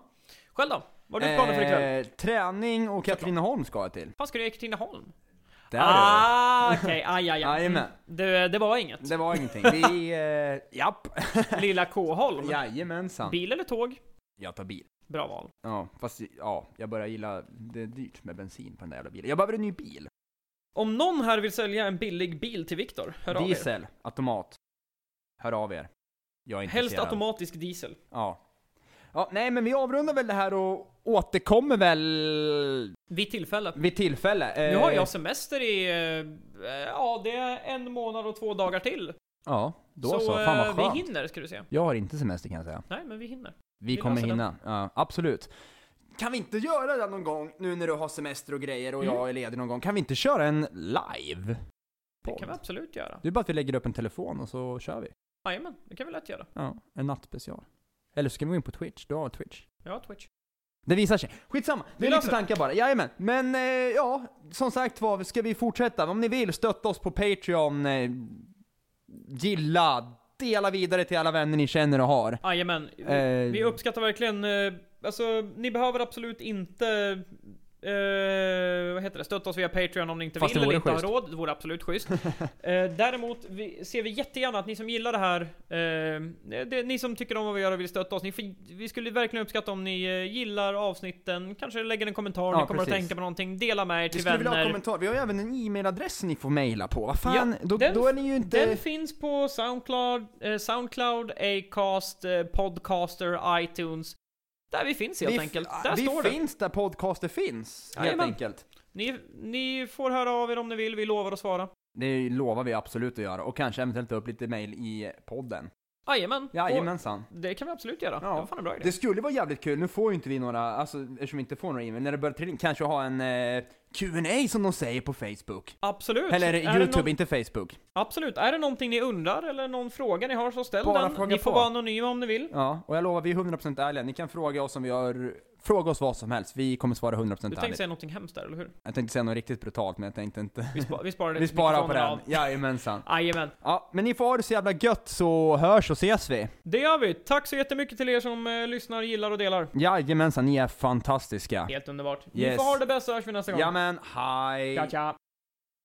S2: Själv då? Vad har du planer för ikväll?
S1: Eh, träning och Katrineholm ska jag till.
S2: Fan, ska du i Katrineholm?
S1: Där är
S2: ah, okej. Aj, aj, aj.
S1: Jajamän.
S2: Mm. Det, det
S1: [laughs]
S2: var inget.
S1: det. Det var ingenting. Vi, eh,
S2: [laughs]
S1: japp.
S2: Lilla K-holm.
S1: Jajamensan.
S2: Bil eller tåg?
S1: Jag tar bil.
S2: Bra val.
S1: Ja, fast ja, jag börjar gilla, det är dyrt med bensin på den där jävla bilen. Jag behöver en ny bil.
S2: Om någon här vill sälja en billig bil till Viktor, hör av er.
S1: Diesel, automat. Hör av er. Jag är intresserad.
S2: Helst automatisk diesel.
S1: Ja. ja. Nej, men vi avrundar väl det här och återkommer väl
S2: Vid tillfälle.
S1: vid tillfälle.
S2: Nu
S1: Eh,
S2: har jag semester i, eh, ja det är en månad och två dagar till.
S1: Ja, då så.
S2: så
S1: Fan vad
S2: eh,
S1: skönt.
S2: vi hinner ska du se.
S1: Jag har inte semester kan jag säga.
S2: Nej men vi hinner.
S1: Vi,
S2: Vi
S1: kommer
S2: löser
S1: hinna. Ja, absolut. Kan vi inte göra det någon gång, nu när du har semester och grejer och
S2: Mm.
S1: jag är ledig någon gång? Kan vi inte köra en live?
S2: Det kan vi absolut göra.
S1: Det är bara att vi lägger upp en telefon och så kör vi.
S2: Jajamän, det kan vi lätt göra.
S1: Ja, en nattspecial. Eller så kan vi gå in på Twitch, du har Twitch.
S2: Jag har Twitch.
S1: Det visar sig. Skitsamma, det
S2: Vi
S1: är lite
S2: löser det.
S1: tankar bara. Jajamän. Men eh, ja, som sagt var, ska vi fortsätta? Om ni vill, stötta oss på Patreon. Eh, gilla, dela vidare till alla vänner ni känner och har.
S2: Jajamän.
S1: Eh,
S2: Vi uppskattar verkligen, eh, alltså ni behöver absolut inte eh, vad heter det? Stötta oss via Patreon om ni inte
S1: Fast
S2: vill
S1: det
S2: eller
S1: vore
S2: inte har
S1: schysst.
S2: råd. Det vore
S1: [laughs]
S2: absolut schysst. eh, däremot vi, ser vi jättegärna att ni som gillar det här, eh, det, ni som tycker om vad vi gör och vill stötta oss, ni, får- vi skulle verkligen uppskatta om ni eh, gillar avsnitten, kanske lägger en kommentar,
S1: Ja,
S2: ni kommer
S1: precis.
S2: att tänka på någonting, dela med er
S1: Vi
S2: till
S1: skulle vilja ha
S2: vänner.
S1: kommentar. Vi har ju även en e-mailadress ni får mejla på. Vad fan,
S2: Ja,
S1: då,
S2: den-
S1: då är ni ju inte...
S2: Den finns på Soundcloud, eh, Soundcloud, Acast, eh, Podcaster, iTunes. Där vi finns helt
S1: vi,
S2: enkelt.
S1: ah,
S2: Där
S1: vi
S2: står det.
S1: finns där podcaster finns, helt
S2: Jajamän.
S1: enkelt.
S2: Ni, ni får höra av er om ni vill, vi lovar att svara.
S1: Det lovar vi absolut att göra. Och kanske eventuellt ta upp lite mejl i podden.
S2: Jajamän. Och
S1: Jajamensan.
S2: Det kan vi absolut göra.
S1: Ja.
S2: Det var fan en bra idé.
S1: Det skulle vara jävligt kul, nu får ju inte vi några, alltså eftersom vi inte får några e-mail, när det börjar trilla in, kanske ha en eh, Q&A som de säger på Facebook.
S2: Absolut.
S1: Eller
S2: Är det
S1: Youtube,
S2: någon-
S1: inte Facebook.
S2: Absolut. Är det någonting ni undrar eller någon fråga ni har så ställ
S1: Bara
S2: den.
S1: fråga
S2: Ni får
S1: på.
S2: vara anonyma om ni vill.
S1: Ja, och jag lovar, vi är 100% ärliga. Ni kan fråga oss om vi har, fråga oss vad som helst, vi kommer svara 100%
S2: Du
S1: ärligt.
S2: tänkte säga någonting hemskt där, eller hur?
S1: Jag tänkte säga något riktigt brutalt, men jag tänkte inte.
S2: Vi, spa, vi sparar
S1: [laughs]
S2: det
S1: Vi
S2: till
S1: sparar på
S2: mikrofonerna
S1: den, jajamensan.
S2: av. Jajamän.
S1: Ja, men ni får ha det så jävla gött så hörs och ses vi.
S2: Det gör vi. Tack så jättemycket till er som eh, lyssnar, gillar och delar.
S1: Jajamensan, ni är fantastiska.
S2: Helt underbart. Ni
S1: Yes.
S2: får ha det bäst så hörs vi nästa gång.
S1: Jamen, hej!
S2: Ciao, ciao.